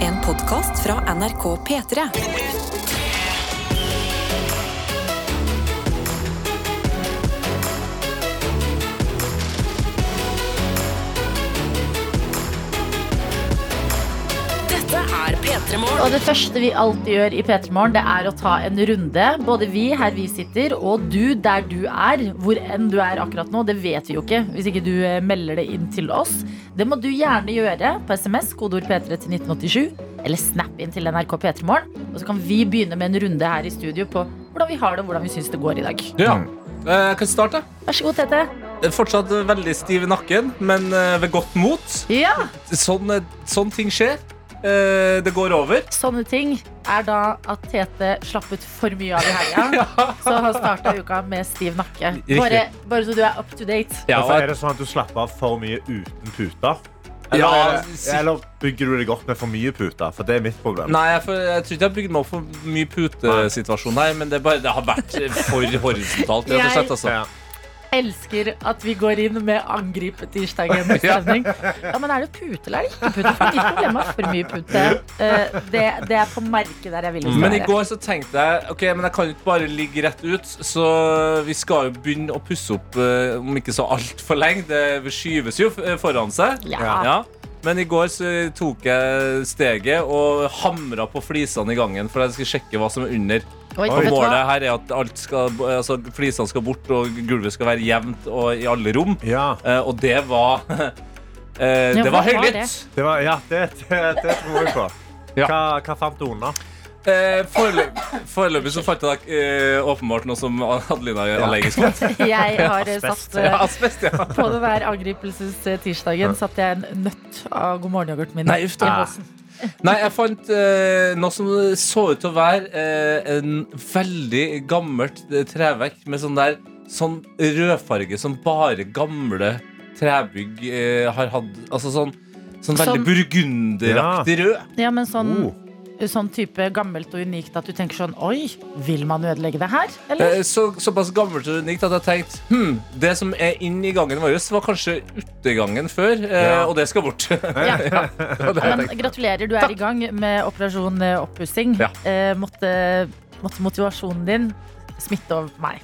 En podkast fra NRK P3. Dette er P3 Morgen. Og det første vi alltid gjør i P3 Morgen, det er å ta en runde. Både vi her vi sitter, og du der du er. Hvor enn du er akkurat nå, det vet vi jo ikke hvis ikke du eh, melder det inn til oss. Det må du gjerne gjøre på SMS, kodeord P3 til 1987, eller snap inn til NRK P3 Morgen. Og så kan vi begynne med en runde her i studio på hvordan vi har det, og hvordan vi syns det går i dag. Ja. Eh, Jeg kan starte. Vær så god, Tete. Jeg er Fortsatt veldig stiv i nakken, men eh, ved godt mot. Ja, Sånn, sånn ting skjer. Eh, Det går over. Sånne ting er da at Tete slappet for mye av i helga. Så han starta uka med stiv nakke. Riktig. Bare, bare så du er up to date. Ja, Hvorfor er det sånn at du slapper av for mye uten puter? Eller, eh, Ja, si- eller bygger du deg opp med for mye puter? For det er mitt problem. Nei, jeg, får- jeg tror ikke jeg har bygd meg opp for mye putesituasjon her, men det, er bare, det har vært for horisontalt, rett og slett. Altså. Ja. elsker at vi går inn med angripe-tirsdagen-stemning. Ja, men er det pute eller er det ikke pute? For mitt problem er for mye pute. Eh, det, det er på merket der jeg vil Men i være. går så tenkte jeg Ok, men jeg kan jo ikke bare ligge rett ut, så vi skal jo begynne å pusse opp eh, om ikke så altfor lenge. Det skyves jo f- foran seg. Ja. Men i går så tok jeg steget og hamra på flisene i gangen for jeg skulle sjekke hva som er under. Oi, Og vet du målet hva? her er at alt skal, altså, flisene skal bort, og gulvet skal være jevnt og i alle rom. Ja, Eh, og det var Ja, eh, hva Det var var høylytt. det? det, var, ja, det, det, det tror jeg på. Ja. Hva, hva fant du unna? Eh, forelø- Foreløpig så fant jeg eh, åpenbart noe som Adelina er allergisk mot. Jeg har eh, satt Ja, eh, asbest, ja. på den der angripelses-tirsdagen satt jeg en nøtt av God morgen-yoghurten min. Nei, uff da. i halsen. Nei, jeg fant eh, noe som så ut til å være eh, en veldig gammelt eh, treverk med sånn der sånn rødfarge som bare gamle trebygg eh, har hatt. Altså sånn, sånn veldig Som- burgunderaktig rød. Ja, men sånn, Oh. sånn type gammelt og unikt at du tenker sånn Oi, vil man ødelegge det her? Eller? Eh, så, såpass gammelt og unikt at jeg tenkte hm, det som er inn i gangen vår, var kanskje utegangen før, eh, Ja. og det skal bort. Ja. Og det- Ja, men gratulerer, du er i gang med operasjon eh, oppussing. Ja. Eh, måtte, måtte motivasjonen din smitte over på meg.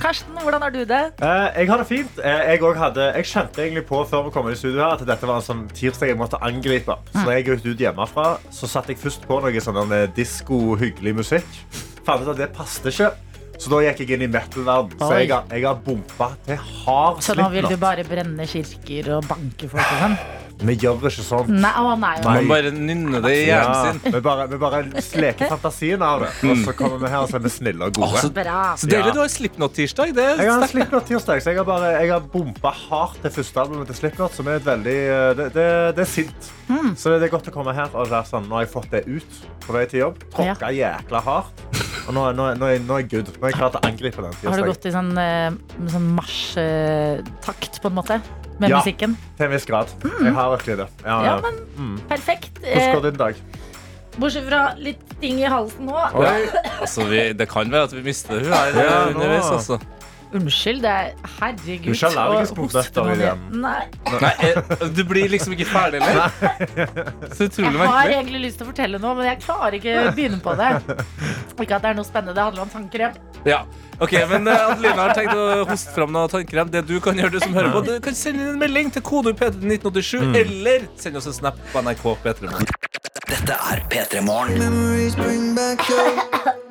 Karsten, hvordan har du det? Eh, jeg har det fint. Eh, jeg, også hadde, jeg kjente egentlig på før vi kom inn i studio her, at dette var en sånn tirsdag jeg måtte angripe. Så når jeg gikk ut hjemmefra, så satte jeg først på noe sånn eh, disko-hyggelig musikk. Fant ut at det passet ikke. Så da gikk jeg inn i metal-verden. Så Oi. jeg, har- jeg har bompa til hard Så nå vil du slipknot. bare brenne kirker og banke folk og sånn? Vi gjør ikke sånn. Nei, å, nei, å, nei. Man bare nynner det i Ja, hjernen sin. vi bare, vi bare sleker fantasien av det. Og så kommer vi her og så er vi snille og Å, gode. så- Bra. Så deilig Ja. altså. du har Slipknot-tirsdag. Det er Jeg har sterkt. Slipknot tirsdag, så jeg har, bare, jeg har bompa hardt det første albumet til Slipknot, som er et veldig eh, Det, det, det er sint. Hmm. Så det, det er godt å komme her og være sånn Nå har jeg fått det ut på vei til jobb. Tråkka jækla hardt. Og nå, nå, nå, er- nå er jeg good. Nå er jeg klar til å angripe den Har du tirsdagen. gått i sånn, eh, sånn marsjtakt, på en måte? Med Ja. musikken? Til en viss grad. Jeg har virkelig det. Ja, Hmm. Ja, ja. men perfekt. Hvordan Eh, går din dag? bortsett fra litt ting i halsen nå. Ja. Altså, vi, det kan være at vi mister hun her Ja, nå. underveis, altså. Unnskyld, det er herregud. Du er ikke allergisk og mot hoste nøtter, nå ned. Vivian. Nei. Nei, eh, du blir liksom ikke ferdig heller. Så utrolig Jeg har merkelig. egentlig lyst til å fortelle noe, men jeg klarer ikke å begynne på det. Ikke at det er noe spennende, det handler om tannkrem. Ja. Ok, men eh, Adelina har tenkt å hoste fram noe tannkrem. Det du kan gjøre, du som hører på, du kan sende inn en melding til kodeord P1987, Mm. eller send oss en snap på NRK P3. Dette er P3 Morgen.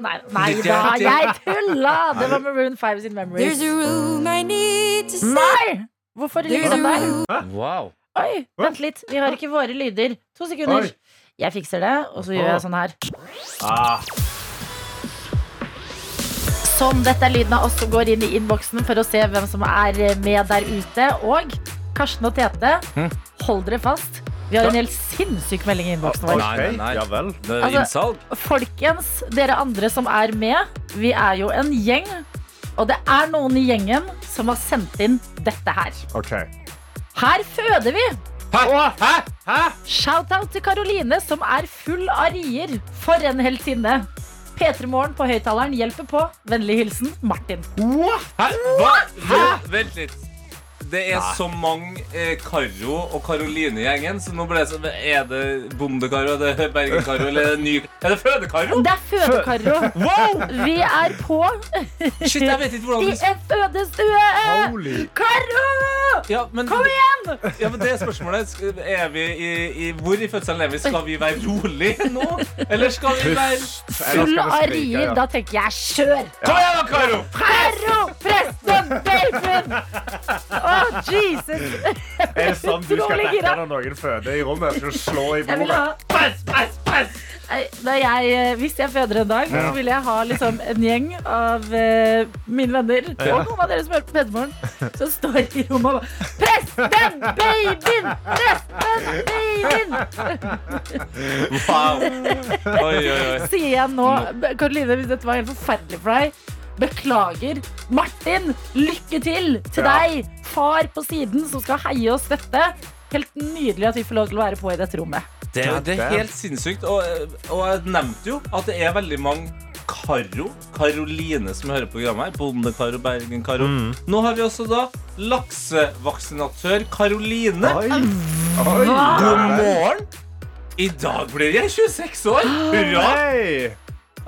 Nei, nei da, jeg tulla! Det var Maroon 5 sin There's Memories. a room I need to say. Nei! Hvorfor lyder There's a den der? room. Wow. Oi, vent litt. Vi har ikke våre lyder. To sekunder. Oi. Jeg fikser det, og så gjør jeg sånn her. Ah, Sånn, dette er lyden av oss som går inn i innboksen for å se hvem som er med der ute. Og Karsten og Tete, Hm. hold dere fast. Vi har en helt sinnssyk melding i innboksen vår. OK. Nei, nei, nei. Ja vel. Det er Altså- innsalg. Folkens, dere andre som er med, vi er jo en gjeng. Og det er noen i gjengen som har sendt inn dette her. OK. Her føder vi! Hæ? Hæ? Hæ? Shout-out til Karoline, som er full av rier. For en heltinne. P3 Morgen på høyttaleren hjelper på. Vennlig hilsen Martin. Hæ? Hva? Hæ? Vent litt. Det er Nei. så mange eh, Karo og Karoline i gjengen, så nå ble det sånn Er det Bonde-Karo, er det Bergen-Karo, eller er det ny Er det Føde-Karo? Det er fødekaro. Vi er på Shit, jeg vet ikke i hvordan en fødestue! Holy. Karo! ja, men, Kom igjen! Ja, men det spørsmålet sk- er vi i, i Hvor i fødselen er vi? Skal vi være rolig nå? Eller skal vi være Eller Full skal vi av skrike, rier. ja? Da tenker jeg kjør! Kom igjen, da, Karo! Karo, Preston, Bacon! Å, Jesus! Er det sånn du skal Utrolig gira. dekke når noen føder i rommet? Skal du slå i Jeg vil bordet? ha Nei, Da jeg, eh, hvis jeg føder en dag, så vil jeg ha liksom en gjeng av eh, mine venner og noen av dere som hører på Pedmorgen, som står i rommet og bare Presten, babyen! Presten, babyen! Wow. Oi, oi, oi. Sier jeg nå Be- Karoline, hvis dette var helt forferdelig for deg, beklager. Martin, lykke til til Ja. deg, far på siden, som skal heie og støtte. Helt nydelig at vi får lov til å være på i dette rommet. Det, det er helt sinnssykt. Og, og jeg nevnte jo at det er veldig mange Karo, Karoline som hører på programmet her. Bonde-Karo, Bergen-Karo. Nå har vi også da laksevaksinatør Karoline. Oi. Oi. God morgen! I dag blir jeg 26 år! Hurra! Hei.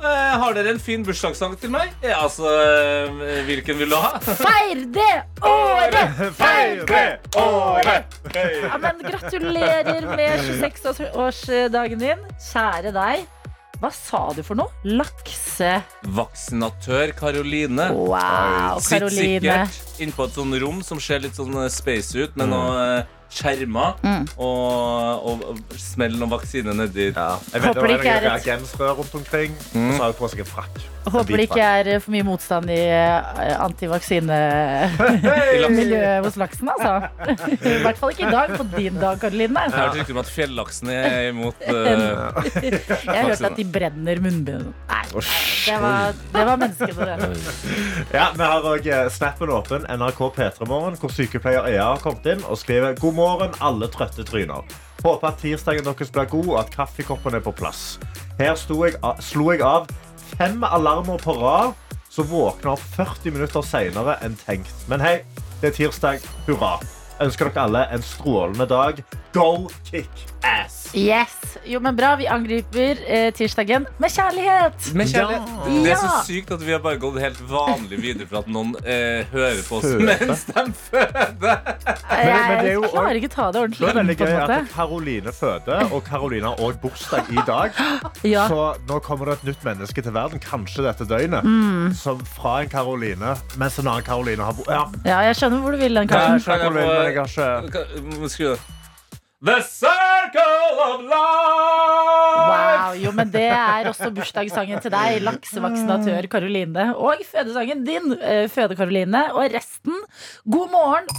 Eh, har dere en fin bursdagssang til meg? Ja, altså, eh, hvilken vil du ha? Feir det året! Feire året! Ja, men gratulerer med 26-årsdagen din. Kjære deg. Hva sa du for noe? Lakse... Vaksinatør Karoline. Wow, Sitt Karoline. sikkert innpå et sånn rom som ser litt sånn eh, space ut, Mm. med noen eh, skjermer og, og, og smell noen vaksine nedi. Ja. Jeg Håper vet, det det ikke var er noen et- Mm. reagensrør rundt omkring. Og så har hun på seg en frakk. En Håper det hvit ikke er for mye motstand i eh, antivaksine... frakk. Hei. miljøet hos laksen, altså. I hvert fall ikke i dag, på din dag, Karoline. Jeg har hørt rykter om at fjellaksen er imot eh, Jeg har hørt at de brenner munnbind. Nei, nei, det var, det var menneskene, det. Ja, Vi har òg snappen åpen, NRK P3morgen, hvor sykepleier EA har kommet inn og skriver God morgen, alle trøtte tryner. Håper at tirsdagen deres blir god, og at kaffekoppen er på plass. Her sto jeg, a- slo jeg av fem alarmer på rad, så våkna opp 40 minutter seinere enn tenkt. Men hei, det er tirsdag. Hurra. Ønsker dere alle en strålende dag. Go kick ass! Yes. Jo, men bra. Vi angriper eh, tirsdagen med kjærlighet. med kjærlighet. Ja. Det er så sykt at vi har bare gått helt vanlig videre for at noen eh, hører på oss mens de føder. men det er Jeg jo klarer ikke ta det Det er ordentlig veldig inn, på gøy en måte. at Karoline føder, og Karoline har også bursdag i dag. Ja. Så nå kommer det et nytt menneske til verden, kanskje dette døgnet, som fra en Karoline, mens en annen Karoline har bo... Ja, Ja, jeg skjønner hvor du vil den, jeg Karsten. skjønner hvor du vil, men jeg har ikke Ka- Skru av. The circle of life! Wow, jo, men det er også bursdagssangen til deg, laksevaksinatør Karoline. Og fødesangen din, eh, Føde-Karoline. Og resten, god morgen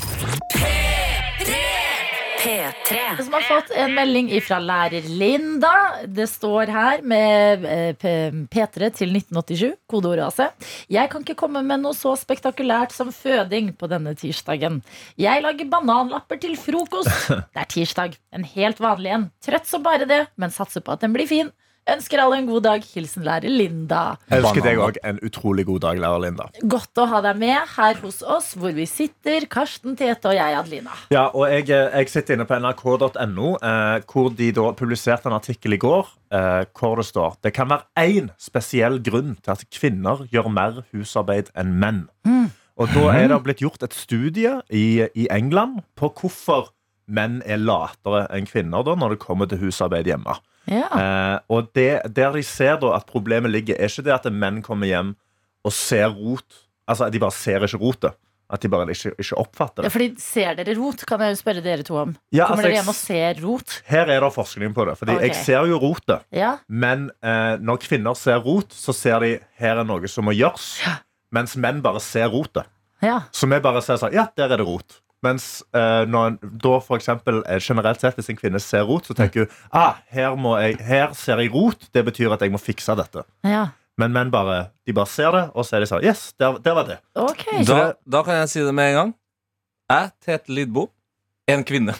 P3. som har fått en melding fra lærer Linda. Det står her med eh, P- P3 til 1987, kodeordet AC. Jeg kan ikke komme med noe så spektakulært som føding på denne tirsdagen. Jeg lager bananlapper til frokost. Det er tirsdag. En helt vanlig en. Trøtt som bare det, men satser på at den blir fin. Ønsker alle en god dag. Hilsen lærer Linda. Jeg ønsker deg òg en utrolig god dag, lærer Linda. Godt å ha deg med her hos oss, hvor vi sitter, Karsten, Tete og jeg, Adelina. Ja, og jeg, eh, jeg sitter inne på nrk.no, eh, hvor de da publiserte en artikkel i går eh, hvor det står det kan være én spesiell grunn til at kvinner gjør mer husarbeid enn menn. Mm. Og da er Mhm. det blitt gjort et studie i, i England på hvorfor menn er latere enn kvinner da, når det kommer til husarbeid hjemme. Ja. Eh, og det, der de ser da at problemet ligger, er ikke det at menn kommer hjem og ser rot. Altså, at de bare ser ikke rotet. At de bare ikke, ikke oppfatter det. Fordi ser dere rot, kan jeg jo spørre dere to om. Ja, Kommer altså, dere jeg hjem og ser rot? Her er det forskning på det. Fordi Ok. jeg ser jo rotet, Ja. men eh, når kvinner ser rot, så ser de her er noe som må gjøres. Mens menn bare ser rotet. ja. Så vi bare ser sånn Ja, der er det rot. Mens eh, når, en- da for eksempel, eh, generelt sett, hvis en kvinne ser rot, så tenker hun ah, her, må jeg, her ser jeg rot. Det betyr at jeg må fikse dette. ja. Men menn bare, de bare ser det, og så er de sånn Yes, der, der var det. Ok. Da, da kan jeg si det med en gang. Jeg, Tete Lidbo, er en kvinne.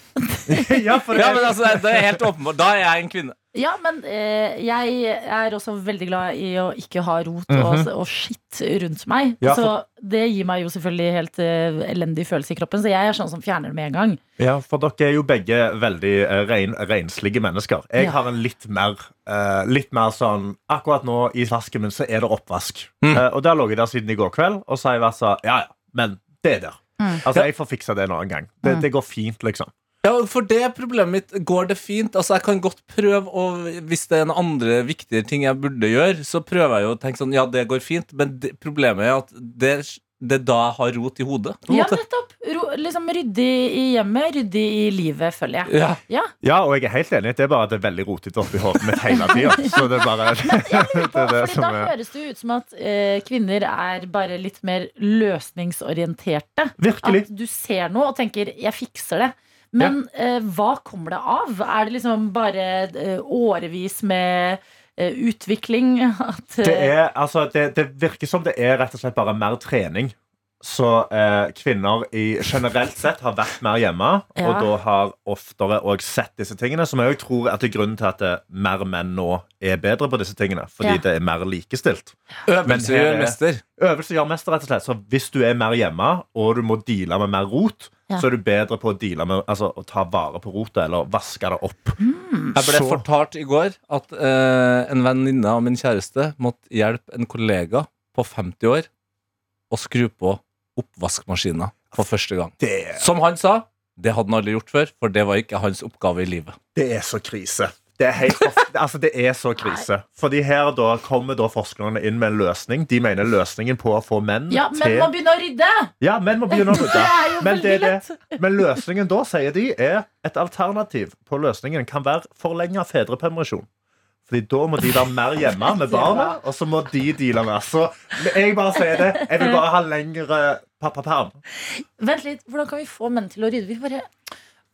ja, for Ja, men altså, det er helt åpenbart. Da er jeg en kvinne. Ja, men eh, jeg er også veldig glad i å ikke ha rot Mhm. og, og skitt rundt meg. Ja, Så det gir meg jo selvfølgelig helt eh, elendig følelse i kroppen, så jeg er sånn som fjerner det med en gang. Ja, for dere er jo begge veldig eh, rein, renslige mennesker. Jeg Ja. har en litt mer, eh, litt mer sånn Akkurat nå i vasken min så er det oppvask. Mm. Eh, og det har ligget der siden i går kveld, og så har jeg vært sånn Ja, ja, men det er der. Mm. Altså, jeg får fiksa det en annen gang. Det, det går fint, liksom. Ja, for det er problemet mitt. Går det fint? Altså, jeg kan godt prøve, og hvis det er noen andre viktige ting jeg burde gjøre, så prøver jeg jo å tenke sånn, ja, det går fint, men det, problemet er at det, det er da jeg har rot i hodet. på en Ja, måte. nettopp. Ro, liksom ryddig i hjemmet, ryddig i livet, føler jeg. Ja. Ja, og jeg er helt enig. Det er bare at det er veldig rotete oppi hodet mitt hele tida. Så det er bare det er det Fordi som da er høres det jo ut som at eh, kvinner er bare litt mer løsningsorienterte. Virkelig. At du ser noe og tenker 'jeg fikser det'. Men eh, hva kommer det av? Er det liksom bare eh, årevis med eh, utvikling? At, eh, Det, er, altså, det, det virker som det er rett og slett bare mer trening. Så eh, kvinner i, generelt sett har vært mer hjemme Ja. og da har oftere og sett disse tingene. Som jeg også tror at det er grunnen til at eh, mer menn nå er bedre på disse tingene. Fordi Ja. det er mer likestilt. Men Øvelse her er- gjør mester. Øvelse gjør mester, rett og slett. Så hvis du er mer hjemme og du må deale med mer rot, Ja. så er du bedre på å, deale med, altså, å ta vare på rotet eller vaske det opp. Mm. Jeg ble Så- fortalt i går at eh, en venninne av min kjæreste måtte hjelpe en kollega på 50 år å skru på oppvaskmaskinen for første gang. Det, Som han sa, det hadde han aldri gjort før, for det var ikke hans oppgave i livet. Det er så krise. Det er, helt, altså, det er så krise. Fordi her da kommer da forskerne inn med en løsning. De mener løsningen på å få menn ja, men til man begynner å rydde! Ja, menn må begynne å Det rydde. er jo Men veldig det er lett. det. Men løsningen da, sier de, er et alternativ på løsningen kan være forlenga fedrepermisjon. Fordi da må de være mer hjemme med barna, og så må de deale med. Så jeg bare sier det. Jeg vil bare ha lengre pappaperm. Vent litt, hvordan kan vi få menn til å rydde? Vi bare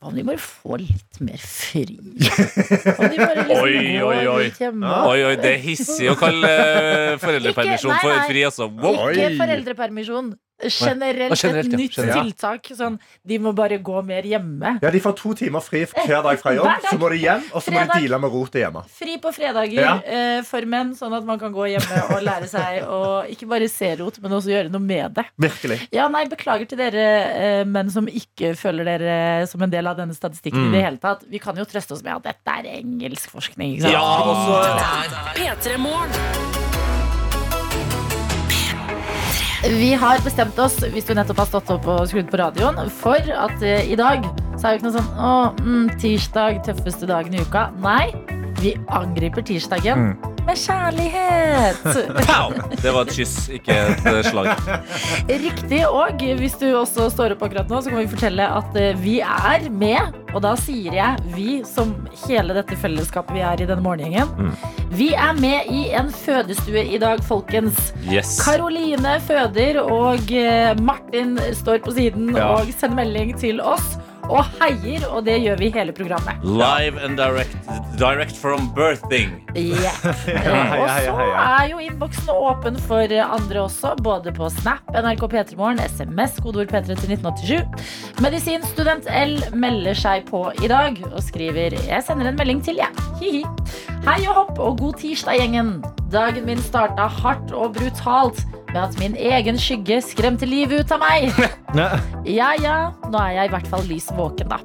hva om de bare får litt mer fri? Om de bare liksom Oi, går oi, oi. litt hjemme og- Oi, oi, det er hissig å kalle eh, foreldrepermisjon Ikke- nei, nei. for fri, altså. Wow. Ikke Oi. foreldrepermisjon. Generelt, Å, generelt, et ja. nytt Generelt. tiltak. Sånn, de må bare gå mer hjemme. Ja, De får to timer fri hver dag fra Hver jobb, dag. så må de hjem, og så må de Fredag. deale med rotet hjemme. Fri på fredager Ja. eh, for menn, sånn at man kan gå hjemme og lære seg å ikke bare se rot, men også gjøre noe med det. Virkelig. Ja, nei, Beklager til dere eh, menn som ikke føler dere som en del av denne statistikken. i det hele tatt Vi kan jo trøste oss med at dette er engelsk forskning. Ikke sant? Ja, og så- P3 Morgen. Vi har bestemt oss, hvis du nettopp har stått opp og skrudd på radioen, for at eh, i dag så er jo ikke noe sånn Å, mm, tirsdag, tøffeste dagen i uka. Nei, vi angriper tirsdagen med kjærlighet. Pow! Det var et kyss, ikke et eh, slag. Riktig. Og hvis du også står opp akkurat nå, så kan vi fortelle at eh, vi er med. Og da sier jeg vi, som hele dette fellesskapet vi er i denne morgengjengen. Vi er med i en fødestue i dag, folkens. Yes. Karoline føder, og eh, Martin står på siden Ja. og sender melding til oss. Og heier, og det gjør vi i hele programmet. Live and direct, direct from birthing. Yeah. heia, og heia, så heia. er jo innboksen åpen for andre også, både på Snap, NRK P3morgen, SMS, kodeord P3 til 1987. Medisinstudent L melder seg på i dag og skriver Jeg sender en melding til, jeg. Hihi. Hei og hopp og god tirsdag, gjengen. Dagen min starta hardt og brutalt med at min egen skygge skremte livet ut av meg. Ja, ja, nå er jeg i hvert fall lys våken, da.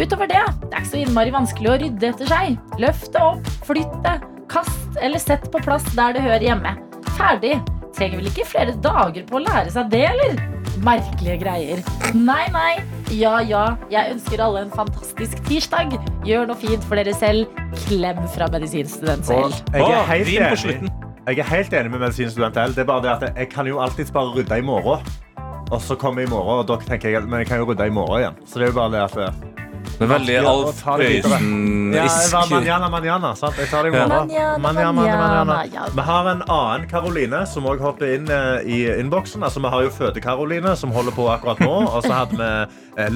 Utover det, det er ikke så innmari vanskelig å rydde etter seg. Løft det opp, flytt det, kast eller sett på plass der det hører hjemme. Ferdig. Trenger vel ikke flere dager på å lære seg det, eller? Merkelige greier. Nei, nei. Ja, ja. Jeg ønsker alle en fantastisk tirsdag. Gjør noe fint for dere selv. Klem fra medisinstudent Og selv. jeg er Å, helt rim på enig. slutten. Jeg er helt enig med medisinstudent L. Det er bare det at jeg kan jo alltid bare rydde i morgen. Og så kommer jeg i morgen, og dere tenker jeg, men jeg kan jo rydde i morgen igjen. Så det er jo bare det at det- Det er veldig Ja, og Alf ta det videre. ja, det var Prøysen-isk. manjana, manjana, sant? Jeg tar det i morgen. Manjana, Manjana, manjana, manjana. ja. Vi har en annen Karoline som også hopper inn eh, i innboksen. Altså, vi har jo føde-Karoline som holder på akkurat nå. Og så hadde vi eh,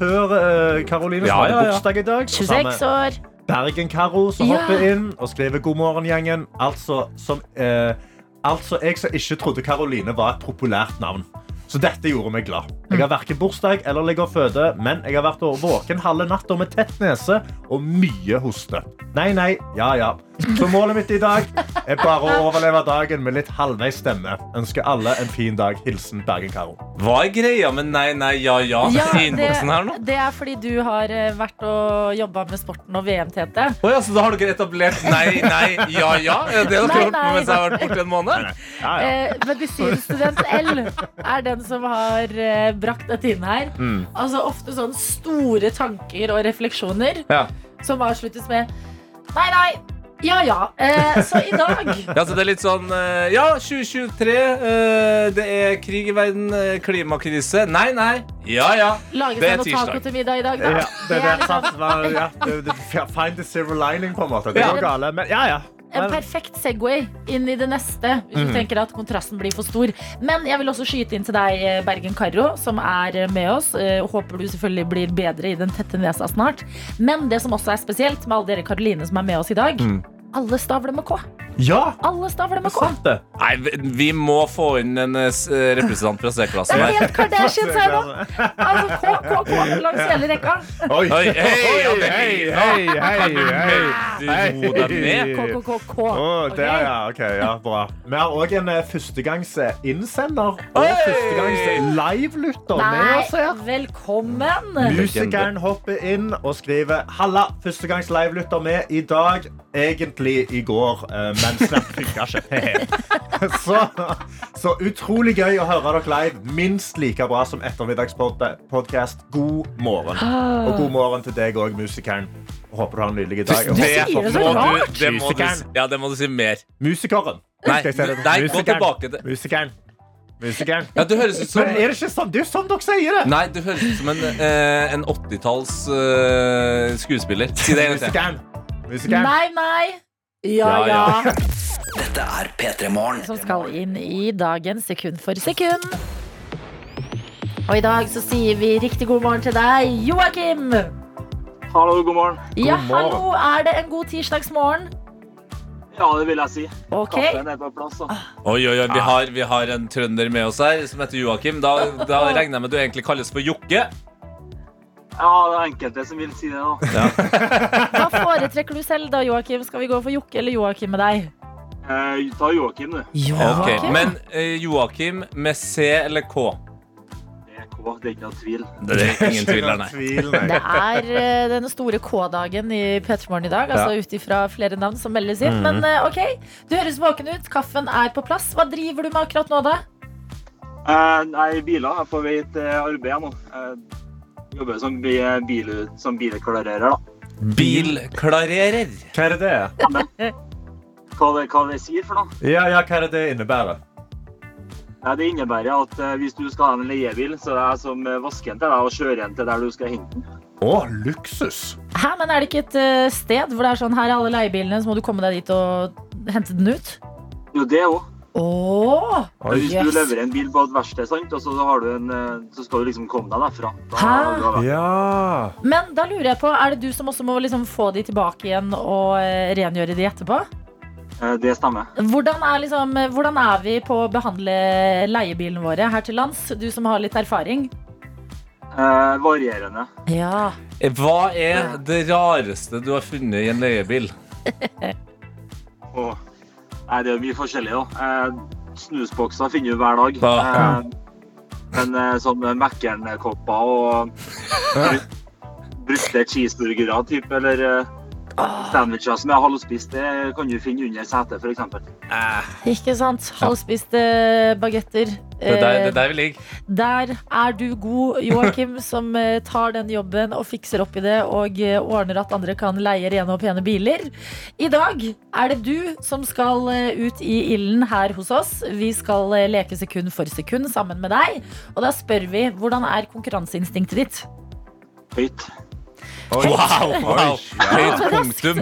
laksevaksinatør-Karoline som Ja, ja, hadde ja. bursdag i dag. Og så har vi- 26 år. Bergen-Karo som Ja. hopper inn og skriver 'God morgen, gjengen'. Altså som eh, Altså jeg som ikke trodde Karoline var et populært navn. Så dette gjorde meg glad. Jeg har verken bursdag eller ligger og føder, men jeg har vært våken halve natta med tett nese og mye hoste. Nei, nei, ja, ja. Så målet mitt i dag er bare å overleve dagen med litt halvveis stemme. Ønsker alle en fin dag. Hilsen Bergen-Karo. Hva er greia med nei, nei, ja, ja, Ja, i innboksen her nå? det, det er fordi du har eh, vært og jobba med sporten og VM, Tete. Å ja, så da har dere etablert nei, nei, ja, ja? Er det det dere Nei, har gjort nei. mens jeg har vært borte en måned? Ja, ja. Eh, medisinstudent L er den som har eh, brakt dette inn her. Mm. Altså Ofte sånn store tanker og refleksjoner Ja. som avsluttes med Nei, nei, ja, ja. Eh, så i dag Ja, så det er litt sånn eh, Ja, 2023. eh, Det er krig i verden. eh, Klimakrise. Nei, nei. Ja, ja. lages Det er det noe taco tirsdag. til middag i dag. Da. Ja, det, det, er liksom sant. Man, ja, det, det, find the silver lining, på en måte. Det Ja. går gale, men ja, ja. En Men, perfekt Segway inn i det neste, hvis du tenker at kontrasten blir for stor. Men jeg vil også skyte inn til deg, eh, Bergen Karro, som er eh, med oss. Eh, og Håper du selvfølgelig blir bedre i den tette nesa snart. Men det som også er spesielt med alle dere Karoline som er med oss i dag, alle stavler med K. ja, Alle stavler det med er K. sant, det. Nei, vi- vi må få inn en eh, s- representant fra Det C-klassen er her. helt Kardashians her nå! Altså K, K, K langs hele rekka. Oi, Oi, hei, ja, det er vi, da. hei, hei, Du ro deg ned. K, K, K, K. Å, Ok? der, ja. Ok, ja, bra. Vi har òg en eh, førstegangsinnsender og Oi! førstegangs-livelytter med oss Nei, her. velkommen! Musikeren hopper inn og skriver Halla, førstegangs livelytter med i dag Egentlig i går eh, Men snart funka ikke så, så utrolig gøy å høre dere live Minst like bra som ettermiddagspodcast God morgen Og god morgen til deg også, musikeren Håper du har en nydelig dag Du sier det så må du, rart. det må du, s- ja, det må du si mer. Musikeren Nei, Skal jeg si det? sånn? nei, gå Musikeren. tilbake til- Musikeren Musikeren Ja, du høres ut som Men er det ikke sånn? Det er jo sånn dere sier det Nei, du høres ut som en, eh, en 80-talls eh, skuespiller. Si det en gang til. Musikeren Musikeren Nei, nei. Ja, Ja, ja. ja. Dette er P3 Morgen. som skal inn i dagen sekund for sekund. Og i dag så sier vi riktig god morgen til deg, Joakim. Hallo, god morgen. Ja, morgen. hallo, er det en god tirsdagsmorgen? Ja, det vil jeg si. Ok. Ah. Kaffen er på plass, da. Oi, oi, oi, Ah. vi har, vi har en trønder med oss her som heter Joakim. Da, da regner jeg med du egentlig kalles for Jokke. Ja, det er enkelte som vil si det, da. Hva foretrekker du selv da, Joakim? Skal vi gå for Jokke eller Joakim med deg? Eh, ta Joakim, du. Ok, Men eh, Joakim med C eller K? Det er K, det er ikke noe tvil. Det er ingen tvil der, nei. Tvil, nei. Det er eh, den store K-dagen i P3morgen i dag, altså ut ifra flere navn som meldes inn. Men eh, ok, du høres våken ut, kaffen er på plass. Hva driver du med akkurat nå, da? Eh, nei, biler er på vei til arbeid nå. Eh, jobber som, bi bil, som bilklarerer, da. Bilklarerer. Hva er det det? er? Hva det, hva det sier for noe? Ja, ja, hva er det det innebærer? Nei, det innebærer at eh, hvis du skal ha en leiebil, så er jeg som eh, vasker den til deg og kjører den til der du skal hente den. Å, luksus! Hæ, men er det ikke et eh, sted hvor det er sånn her er alle leiebilene, så må du komme deg dit og hente den ut? Jo, det òg. Åh! Hvis du yes. leverer en bil på et verksted, sant, og så, har du en, eh, så skal du liksom komme deg derfra. Da, Hæ? da- Ja Men da lurer jeg på, er det du som også må liksom få de tilbake igjen og eh, rengjøre de etterpå? Eh, Det stemmer. Hvordan er, liksom, eh, hvordan er vi på å behandle leiebilene våre her til lands? Du som har litt erfaring. Eh, varierende. Ja. Eh, Hva er det rareste du har funnet i en leiebil? Og, nei, det er jo mye forskjellig, da. Eh, snusbokser finner du hver dag. Ja. Eh, men eh, sånn Mækkern-kopper og bru- bruste cheeseburgere typ, eller eh, sandwicher som jeg har spist, det kan du finne under setet, f.eks. Ikke sant? Halvspiste eh, bagetter. eh, Det er der, det er der vi ligger. Der er du god, Joakim, som eh, tar den jobben og fikser opp i det og eh, ordner at andre kan leie rene og pene biler. I dag er det du som skal eh, ut i ilden her hos oss. Vi skal eh, leke sekund for sekund sammen med deg. Og da spør vi hvordan er konkurranseinstinktet ditt? Høyt. Eh, Wow! wow. Høyt Ja. punktum.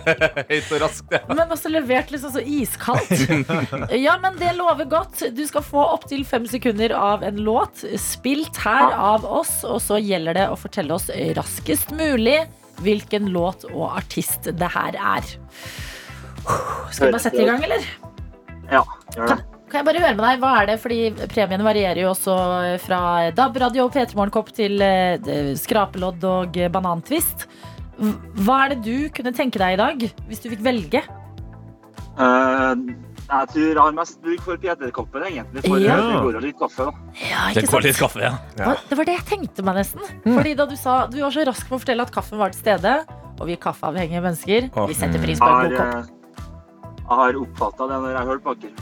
Høyt og raskt, ja. Men også levert liksom så iskaldt. Ja, men det lover godt. Du skal få opptil fem sekunder av en låt spilt her av oss, og så gjelder det å fortelle oss raskest mulig hvilken låt og artist det her er. Skal vi bare sette i gang, eller? Ja, gjør det. Kan jeg bare høre med deg, hva er det? Fordi premiene varierer jo også fra DAB-radio og P3morgenkopp til eh, skrapelodd og eh, banantvist. Hv- Hva er det du kunne tenke deg i dag, hvis du fikk velge? Eh, jeg tror jeg har mest bruk for PT-koppen, egentlig. For eh, Ja. det går jo litt kaffe, da. Ja, Det går litt kaffe, ja. Ja. Hva- Det var det jeg tenkte meg nesten. Fordi da Du sa, du var så rask med å fortelle at kaffen var til stede. Og vi er kaffeavhengige mennesker. Vi setter pris på en Jeg god har, kopp. eh, jeg har oppfatta det når jeg hørte på dere.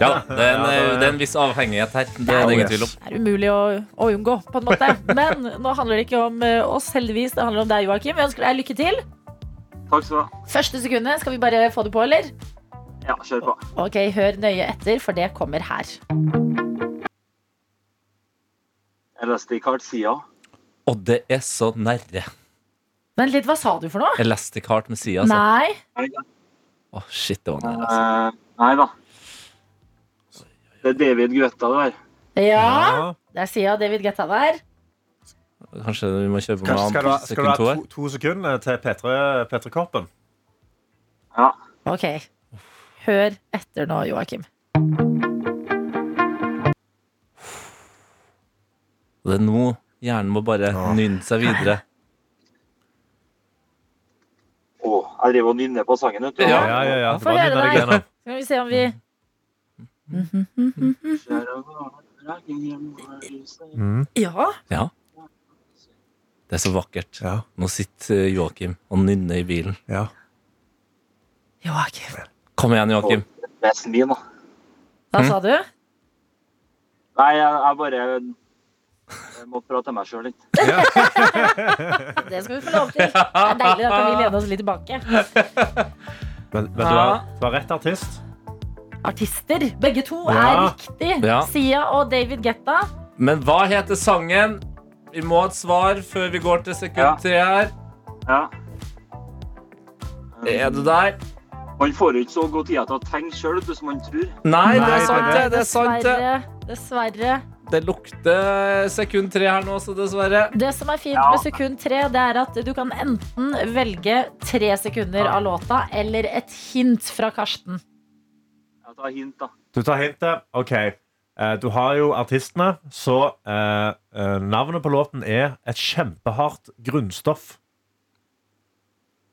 Ja, det er en, eh, det er en viss avhengighet her. Det er det ingen tvil om. Det er umulig å, å unngå, på en måte. Men nå handler det ikke om eh, oss, heldigvis. Det handler om deg, Joakim. Jeg ønsker deg lykke til. Takk skal du ha. Første sekundet, skal vi bare få det på, eller? Ja, kjør på. Ok, hør nøye etter, for det kommer her. Jeg leste Elastic Heart Og det er så nærre. Vent litt, hva sa du for noe? Elastic Heart med Sia, altså. Nei. Sia. Å, shit, det var nære. Altså. Eh, nei da. Det er David Guetta det der. Ja, Ja. der sier jeg David Getta der. Kanskje vi må kjøpe Kanskje med skal du ha, annen skal sekund du ha to to, her. to sekunder til P3 P3-koppen? Ja. Ok. Hør etter nå, Joakim. Det er nå hjernen må bare nynne seg videre. Å, jeg driver og nynner på sangen, vet du. Ja. ja, ja. Få Bare høre nynne deg deg. gjennom. Skal vi se om Mm. vi Mm. Ja. Ja. Det er så vakkert. Ja, Nå sitter eh, Joakim og nynner i bilen. ja. Joakim. Kom igjen, Joakim. Vesten min, da. Mm. Da sa du? Nei, jeg, jeg bare jeg må prate til meg sjøl litt. Det skal vi få lov til. Det er deilig at vi lener oss litt tilbake. Men, men du, var, du var rett artist. Artister. Begge to er Ja. riktig. Ja. Sia og David Getta. Men hva heter sangen? Vi må ha et svar før vi går til Ja. sekund tre her. Ja. Er du der? Man får jo ikke så god tid til å tenke sjøl som man tror. Nei, det er Nei, sant, det. Nei, Det er sant, det. dessverre. Dessverre. Det lukter sekund tre her nå også, dessverre. Det som er fint Ja. med sekund tre, det er at du kan enten velge tre sekunder av låta eller et hint fra Karsten. Jeg tar hint, da. Du tar hintet. OK. Eh, Du har jo artistene, så eh, eh, navnet på låten er et kjempehardt grunnstoff.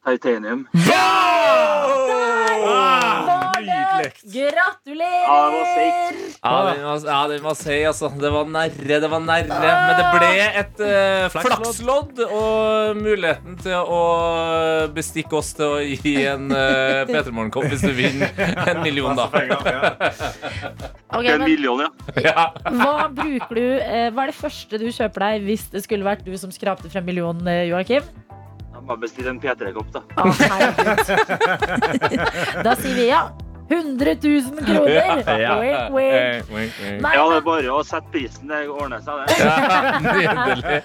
Titanium. Ah, Ja, det var Gratulerer! fake. Ja, den var, ja, den var seig, altså. Det var nærre, det var nærre. Men det ble et eh, flakslodd. og muligheten til å eh, bestikke oss til å gi en uh, P3 Morgenkopp hvis du vinner en million, da. Ok, Det er en men million, ja. Ja. hva, bruker du, eh, hva er det første du kjøper deg hvis det skulle vært du som skrapte frem millionen, eh, Joakim? Jeg må bestille en P3-kopp, da. Å, herregud. da sier vi ja. 100 000 kroner! Ja. Wink, wink. Nei, men Ja, det er bare å sette prisen. Det ordner seg, det. Nydelig.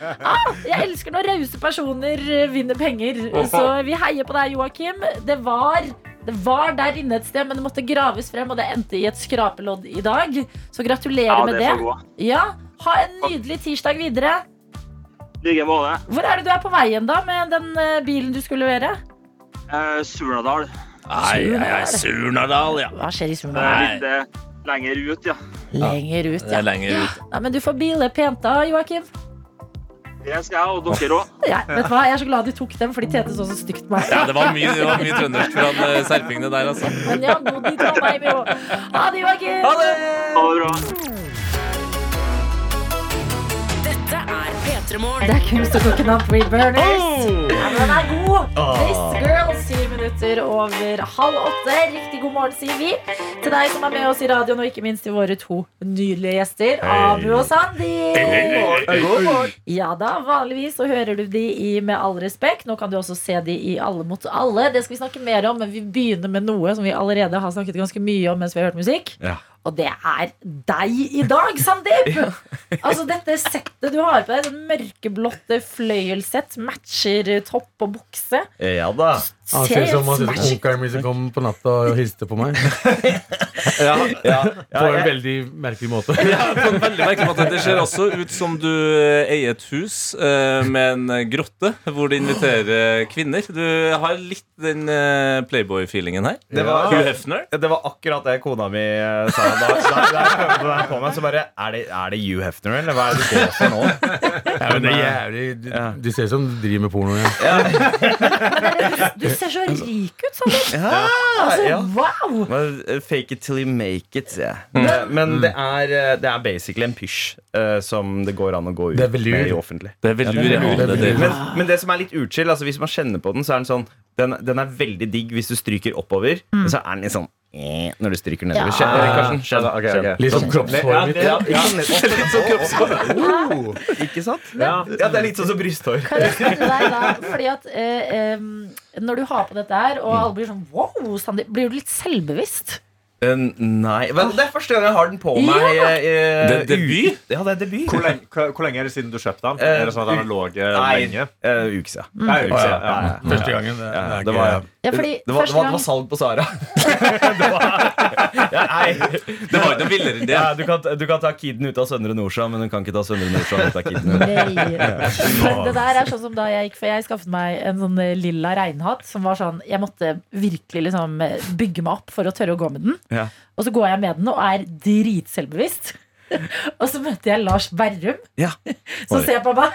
jeg elsker når rause personer eh, vinner penger. Så vi heier på deg, Joakim. Det var, det var der inne et sted, men det måtte graves frem, og det endte i et skrapelodd i dag. Så gratulerer Ja, med det det. får gå. Ja, Ha en nydelig tirsdag videre. I like måte. Hvor er det du er på veien da med den eh, bilen du skulle levere? Eh, Surnadal. Eh, Nei, nei, nei, Surnadal, ja. Hva skjer i Surnadal? Nei. Litt eh, lenger ut, ja. Lenger ut, Det ja. er lenger ut. Nei, men du får bile pent da, Joakim. Det skal jeg, og dere òg. Ja, vet du hva? Jeg er så glad du tok dem, fordi Tete så så stygt på meg. Ja, det var mye, det var mye trøndersk fra eh, serpingene der, altså. Men jeg har bodd i Trondheim i år. Ha det, Joakim! Ha det! Ha det bra. Dette er P3 Morgen. Det er kunst og klokken opp, Reed Burners. Ja, men den er god! This girl, syv minutter over halv åtte. Riktig god morgen, sier vi. Til deg som er med oss i radioen, og ikke minst til våre to nydelige gjester, Abu og Sandi. Ja da, vanligvis så hører du de i Med all respekt. Nå kan du også se de i Alle mot alle. Det skal vi snakke mer om, men vi begynner med noe som vi allerede har snakket ganske mye om mens vi har hørt musikk. Ja. Og det er deg i dag, Sandeep! Altså Dette settet du har på sånn deg, det mørkeblått fløyelssett, matcher topp og bukse. Ja da. Han Se, ser ut som han ser ut som smash. onkelen min som kom på natta og hilste på meg. Ja, ja. På en veldig merkelig måte. Ja, på en veldig merkelig måte. Det ser også ut som du eh, eier et hus eh, med en grotte hvor du inviterer eh, kvinner. Du har litt den eh, Playboy-feelingen her. Det var- Hugh Hefner. Det var akkurat det kona mi eh, sa da, da, da jeg hørte det her på meg. Så bare Er det, er det Hugh Hefner, eller hva er det du går for nå? Ja, men det er jævlig Du, Ja. du ser ut som du driver med porno. Ja. Du ser så rik ut, Sander. Ja, Altså, ja. wow! Men, eh, Fake it till you make it, sier jeg. Mm. Eh, Men det er, eh, det er basically en pysj eh, som det går an å gå ut Det er velur. med i offentlig. Det er veldig ja, veldig det, lurt. det. Men, men det som er litt utskill, altså hvis man kjenner på den, så er den sånn Den, den er veldig digg hvis du stryker oppover, men så er den litt sånn eh, når du stryker nedover. Kjenn, Karsten, kjenn, kjenn. Litt som kroppshåret mitt. Ja, ikke sant? Oh, Ikke sant? Ja. det er litt sånn som brysthår. Kan jeg spørre deg da, fordi at eh, em, Når du har på dette her, og alle blir sånn wow, Sander, blir du litt selvbevisst? Eh, nei Ah. Vel, Det er første gang jeg har den på meg. Ja. eh, eh, Det er debut? ut- Ja, det er debut. Hvor lenge, hvor- hvor lenge er det siden du kjøpte den? Eh, Er det sånn at den har ligget Nei, lenge? eh, uke siden. Nei, uke Å, siden, Mm. ja. ja. Første gangen. Det, Ja, det, det var jeg. Ja, fordi Det var, det første var, det gang var salg på Sara. det var, ja, nei. det var ikke noe villere enn det. Ja, du, kan, du kan ta kiden ut av Søndre Nordsjø, men hun kan ikke ta Søndre Nordsjø ut av kiden. Nei. Men det der er sånn som da jeg gikk For jeg skaffet meg en sånn eh, lilla regnhatt Som var sånn, jeg måtte virkelig liksom eh, Bygge meg opp for å tørre å gå med den Ja. Og så går jeg med den og er dritselvbevisst Og så møter jeg Lars Berrum Ja. Som ser på meg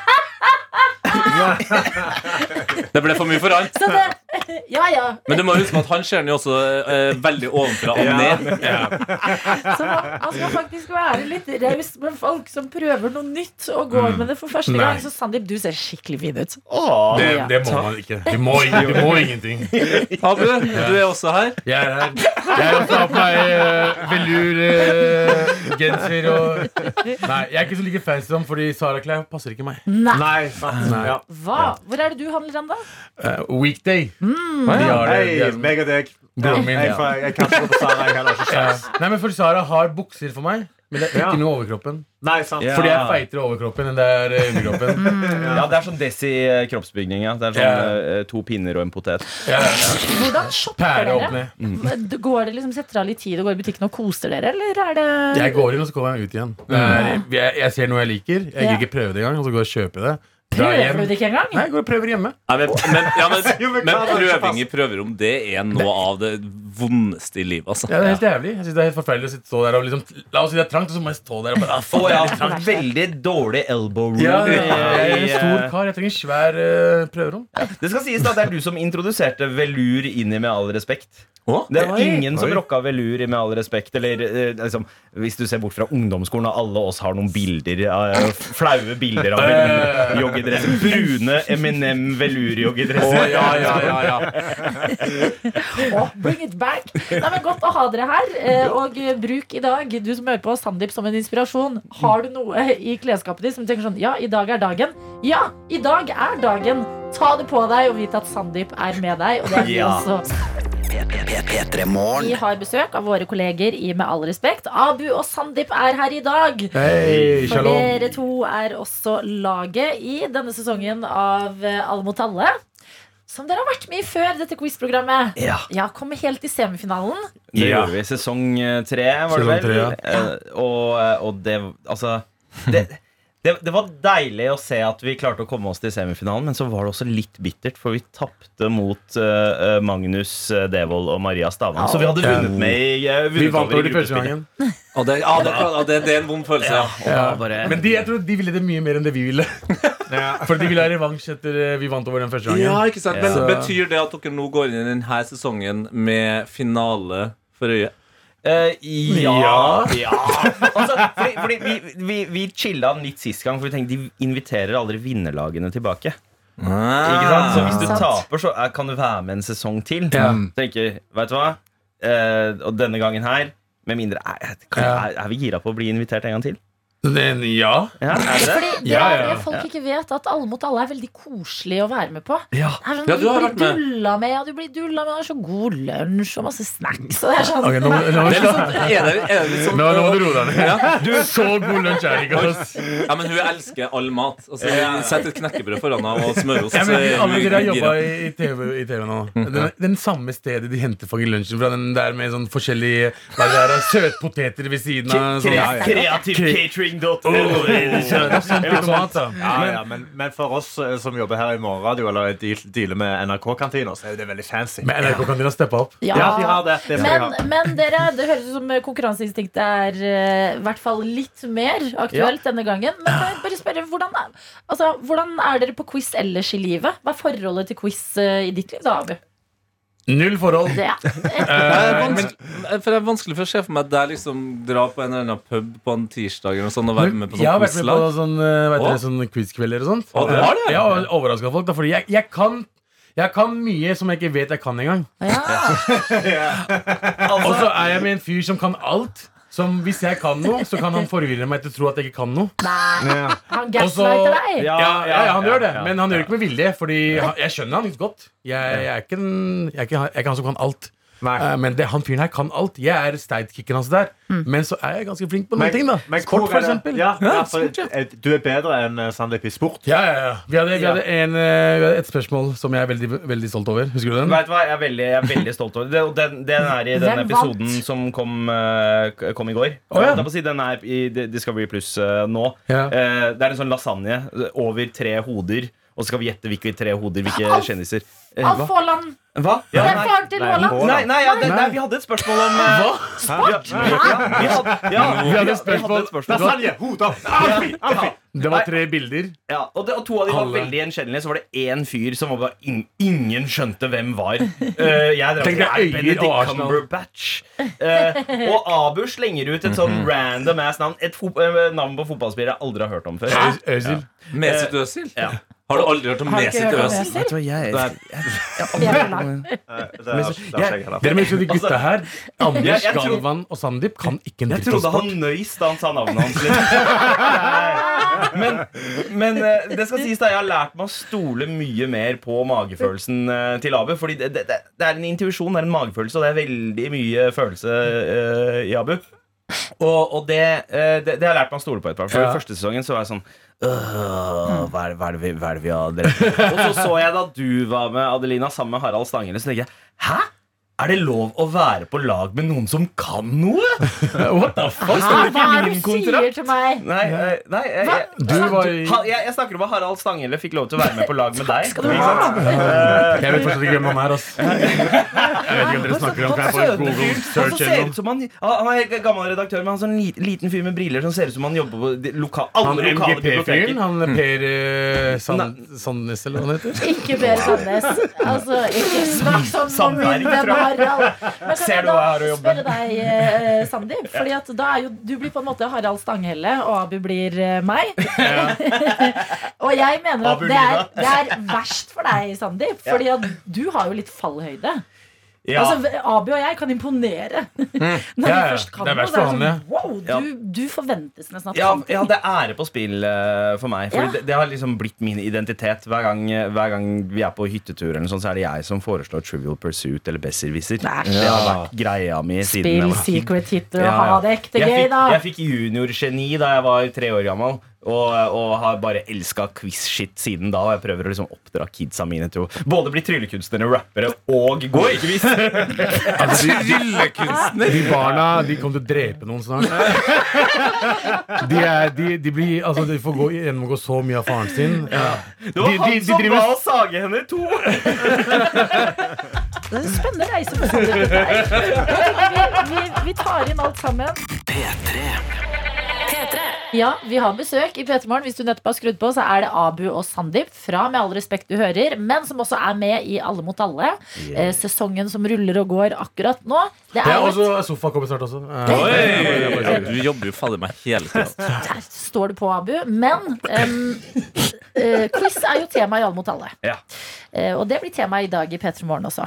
Det ble for mye for han. Så det, ja ja Men du må huske at han ser den jo også eh, veldig ovenfra og ned. Så man, man skal faktisk være litt raus med folk som prøver noe nytt Og går med det for første Nei. gang Så Sandeep, du ser skikkelig fin ut det, det må man ikke. Du må, du må ingenting. Abu, du er også her. Jeg er her. Jeg har tatt på meg uh, velur, eh, genser og Nei, jeg er ikke så like fancy som fordi Sara Klær passer ikke meg. Nei, Nei, sant. Nei. Ja. hva? Hvor er det du handler den da? Eh, weekday. Mm. De har det. Hei, de har- meg og deg. Ja, Broren min, jeg, ja. får- jeg kan ikke gå på Sara. Jeg heller ikke Ja. sjans. Nei, men for Sara har bukser for meg, men det er Ja. ikke noe overkroppen. Nei, sant. Ja. Fordi jeg er feitere overkroppen enn det er eh, underkroppen. Ja, det er sånn desi eh, kroppsbygning. Ja. Det er sånn Ja. eh, to pinner og en potet. Ja, ja, ja. Hvordan shopper Pære dere? opp ned. Men Går det liksom, Setter dere av litt tid og går i butikken og koser dere, eller er det Jeg går inn, og så kommer jeg ut igjen. Det er, jeg, jeg ser noe jeg liker. Jeg Ja. gidder ikke prøve det engang, og så går jeg og kjøper det. Drar Prøver hjem. du det ikke engang? Nei, jeg går og prøver hjemme. Nei, men, men, ja, men, Jo, men men hva er det som prøving i prøverom, det er noe av det vondeste i livet, altså. Ja, det er helt jævlig. Jeg synes det er helt forferdelig å sitte stå der og liksom La oss si det er trangt, og så må jeg stå der og bare Å ah, faen, det er ja, litt trangt. veldig dårlig elbow room. Ja, ja, ja. Jeg er i, en stor eh, kar. Jeg trenger en svær eh, prøverom. Det skal sies da, det er du som introduserte velur inn i Med all respekt. Det er ingen som rocka velur i Med all respekt. Eller eh, liksom, hvis du ser bort fra ungdomsskolen, og alle oss har noen bilder eh, flaue bilder av velur-joggedress. Brune Eminem velur-joggedresser. ja, ja, ja, Å, bring it back! Nei, men Godt å ha dere her. eh, Og eh, bruk i dag, du som hører på, Sandeep som en inspirasjon. Har du noe i klesskapet ditt som du tenker sånn Ja, i dag er dagen. Ja, i dag er dagen. Ta det på deg og vite at Sandeep er med deg. Og det er vi Ja. også. P3 Vi Morgen. har besøk av våre kolleger i Med all respekt. Abu og Sandeep er her i dag. Hei, For shalom. dere to er også laget i denne sesongen av eh, Alle mot alle. Som dere har vært med i før dette quiz-programmet. Ja. Ja, Kommer helt i semifinalen. Det Ja. gjorde vi. Sesong eh, tre, var det Sesong tre, vel? ja. Eh, og, og det Altså det, det, det var deilig å se at vi klarte å komme oss til semifinalen, men så var det også litt bittert, for vi tapte mot eh, eh, Magnus eh, Devold og Maria Stavang. Så vi hadde vunnet med i eh, vunnet Vi vant over i over de første gruppespillet. gangen. Ja, det, ja, det, ja, det, det er en vond følelse. Ja. Og da bare Men de, jeg tror de ville det mye mer enn det vi ville. For de ville ha revansj etter eh, vi vant over den første gangen. Ja, ikke sant? Men Ja. Betyr det at dere nå går inn i denne sesongen med finale for øye? Eh, ja, Ja. ja. altså, fordi, fordi vi, vi, vi chilla den litt sist gang, for vi tenkte de inviterer aldri vinnerlagene tilbake. Ah. Ikke sant? Så hvis du Sant. taper, så er- kan du være med en sesong til. Ja. Tenker, vet du hva? Eh, og denne gangen her, med mindre er, kan, Ja. er, er vi gira på å bli invitert en gang til? Den, ja. Ja, er det? Fordi det Ja, er ja, det folk ikke vet, at Alle mot alle er veldig koselig å være med på. Ja. Det er sånn, Ja, du, du har blir vært med. dulla med, ja, du blir dulla med, og det er så god lunsj og masse snacks. Og det er sånn, Ok, nå, nå, Det er litt sånn, er det, er det litt sånn nå, nå må du roe deg ned. Ja. Du, så god lunsj er det ikke, ass. Ja, men hun elsker all mat. Altså, Sett et knekkebrød foran henne og smørost. Jeg så er mener, hun alle dere har gira. jobba i, i TV, i TV nå. Den, den samme stedet de henter fucking lunsjen fra. Den der med sånn forskjellige hva er det der, søtpoteter ved siden av. Sånn. Kre- Kreativcatering.no. Kjempe tomat, da. Ja, ja, men, men for oss eh, som jobber her i morgenradio, eller deal- dealer med NRK-kantiner, så er jo det veldig fancy. Men NRK-kantina steppa opp. ja. ja, de har det. det skal de Men, ha. men dere, det høres ut som konkurranseinstinktet er eh, i hvert fall litt mer aktuelt denne gangen. Men kan jeg bare spørre, hvordan er, altså, hvordan er dere på quiz ellers i livet? Hva er forholdet til quiz eh, i ditt liv, da, Abu? Null forhold. Det er Det er, Eh, men, vanskelig, for det er vanskelig for å se for meg at jeg liksom drar på en eller annen pub på en tirsdag eller noe sånt, og være med på jeg har sånn vært med på quizlag. sånn, eh, vet Å. dere, sånn quiz-kvelder og sånt. Å, du har det? Jeg har overraska folk, da, fordi jeg, jeg kan jeg kan mye som jeg ikke vet jeg kan engang. ja. Og så er jeg med en fyr som kan alt. Som hvis jeg kan noe, så kan han forvirre meg til å tro at jeg ikke kan noe. Nei, Ja. han Og så- gaslighter deg. Ja, Ja, ja, ja han gjør det, ja, men han gjør det ikke med vilje. Fordi han, jeg skjønner han litt godt. Jeg, jeg, er ikke, den- jeg, er ikke, han- jeg er ikke han som kan alt. Nei. Eh, Men det, han fyren her kan alt. Jeg er steidkicken hans der. Men så er jeg ganske flink på noen Men- ting, da. men Sport, hvor for er det- eksempel. Ja, ja, for, sport, ja. eh, du er bedre enn eh, Sandeep i sport. Ja, ja, ja. Vi hadde, vi hadde, en, eh, vi hadde et spørsmål som jeg er veldig, veldig stolt over. Husker du den? Vet du hva, jeg er veldig, jeg er veldig stolt over det. Og Den, den er i den Hvem episoden vant? som kom, eh, k- kom i går. Å, ja. Jeg holdt på å si, Den er i D- Discovery Pluss eh, nå. Ja. Eh, det er en sånn lasagne eh, over tre hoder. Og så skal vi gjette hvilke tre hoder, hvilke Alf! kjendiser. Eh, Alf Haaland. Hva? Det Ja, er nei. faren til Nei, Haaland. Haaland. Nei, nei, ja, det, nei, vi hadde et spørsmål om eh, Sport? Ja, vi hadde, ja, Vi hadde et vi hadde spørsmål. et spørsmål. Lasagne! Hodet! Ah, Alfie! Alfie! Det var tre bilder. Ja, og, det, og to av de var Alle. veldig gjenkjennelige. Så var det én fyr som var bare in, ingen skjønte hvem var. Eh, jeg drev Tenk deg "Er det øyer og Benedict Arsenal." Cumberbatch. Eh, og Abu slenger ut et sånn Mhm. random ass navn. Et fo eh, navn på fotballspillere jeg aldri har hørt om før. Øs- Øsil. Mesit Øzil? Ja. Har du aldri hørt om Har du ikke Mesit hørt om Øzil? Øsil? Dere må huske de gutta her. Anders jeg tror- Galvan og Sandeep kan ikke en Jeg dritt om trodde sport. han nøys da han sa navnet hans. liksom. litt. Men, men eh, det skal sies da jeg har lært meg å stole mye mer på magefølelsen eh, til Abu. Fordi det, det, det- det er en intuisjon, det er en magefølelse, og det er veldig mye følelse eh, i Abu. Og, og det, eh, det, det har jeg lært meg å stole på. etterpå For Ja. i første sesongen så var jeg sånn «Øh, hva er, hva, er det vi, hva er det vi har drevet med? Og så så jeg da du var med Adelina sammen med Harald Stanghelle, så tenkte jeg hæ? Er det lov å være på lag med noen som kan noe? What the fuck? Hæ, Hva er det min du sier kontrakt. til meg? Nei, nei, nei jeg, Hva? jeg, Du var i Ha- jeg, jeg snakker om at Harald Stanghelle fikk lov til å være med på lag med deg. Skal du ha? Jeg vet fortsatt ikke hvem han er, ass. Eh, Jeg vet ikke om dere snakker om for jeg får Søte Google fyr. Han som search ser eller ut som han, han er en gammel redaktør, men han er sånn li- liten fyr med briller som ser ut som han jobber på de loka, alle Han lokale biblioteker. MGP-fyren, han Per eh, Sand- Sandnes, eller hva han heter. Ikke Per Sandnes. Altså, ikke snakk sånn om Sandberg, min venn tror jeg. Harald. Men kan Ser jeg du da hva jeg har å jobbe spørre deg, eh, Sandeep? Fordi at da er jo du blir på en måte Harald Stanghelle, og Abu blir eh, meg. og jeg mener at Abu det er, Lina. det er verst for deg, Sandeep. Fordi at du har jo litt fallhøyde. Ja. Mm. Altså, Abu og jeg kan imponere. Når Ja, vi ja. først kan det, Det er er verst det for sånn, han, wow, Ja. du, du forventes nesten at Ja, han ja, det er ære på spill eh, for meg. Fordi Ja. det, det har liksom blitt min identitet. Hver gang, hver gang vi er på hyttetur, eller noe sånt, så er det jeg som foreslår Trivial Pursuit eller Besserwisser. Nei. Det har vært greia mi siden jeg Spill var secret hit og Ja, ja. ha det ekte jeg gøy, fikk, da. Jeg fikk juniorgeni da jeg var tre år gammel. Og, og har bare elska quiz-shit siden da. Og jeg prøver å liksom oppdra kidsa mine til å både bli tryllekunstnere, rappere og gå i quiz. Tryllekunstner! De barna de kommer til å drepe noen snart. De, er, de, de, blir, altså, de får gå, gjennomgå så mye av faren sin. Det var De- de- han de som driver- ba oss sage henne i to! Det er en spennende reise for Sander og deg. Jeg tenker Vi, vi, vi tar inn alt sammen. P3. Ja, vi har besøk i P3 Morgen. Hvis du nettopp har skrudd på, så er det Abu og Sandeep fra Med all respekt du hører, men som også er med i Alle mot alle. Eh, Sesongen som ruller og går akkurat nå. Det Det er er jo også, sofa kommer snart også. Eh, Oi! Du jobber jo fader meg hele tida. Der står det på, Abu. Men em, eh, quiz er jo tema i Alle mot alle. Ja. Eh, og det blir tema i dag i P3 Morgen også.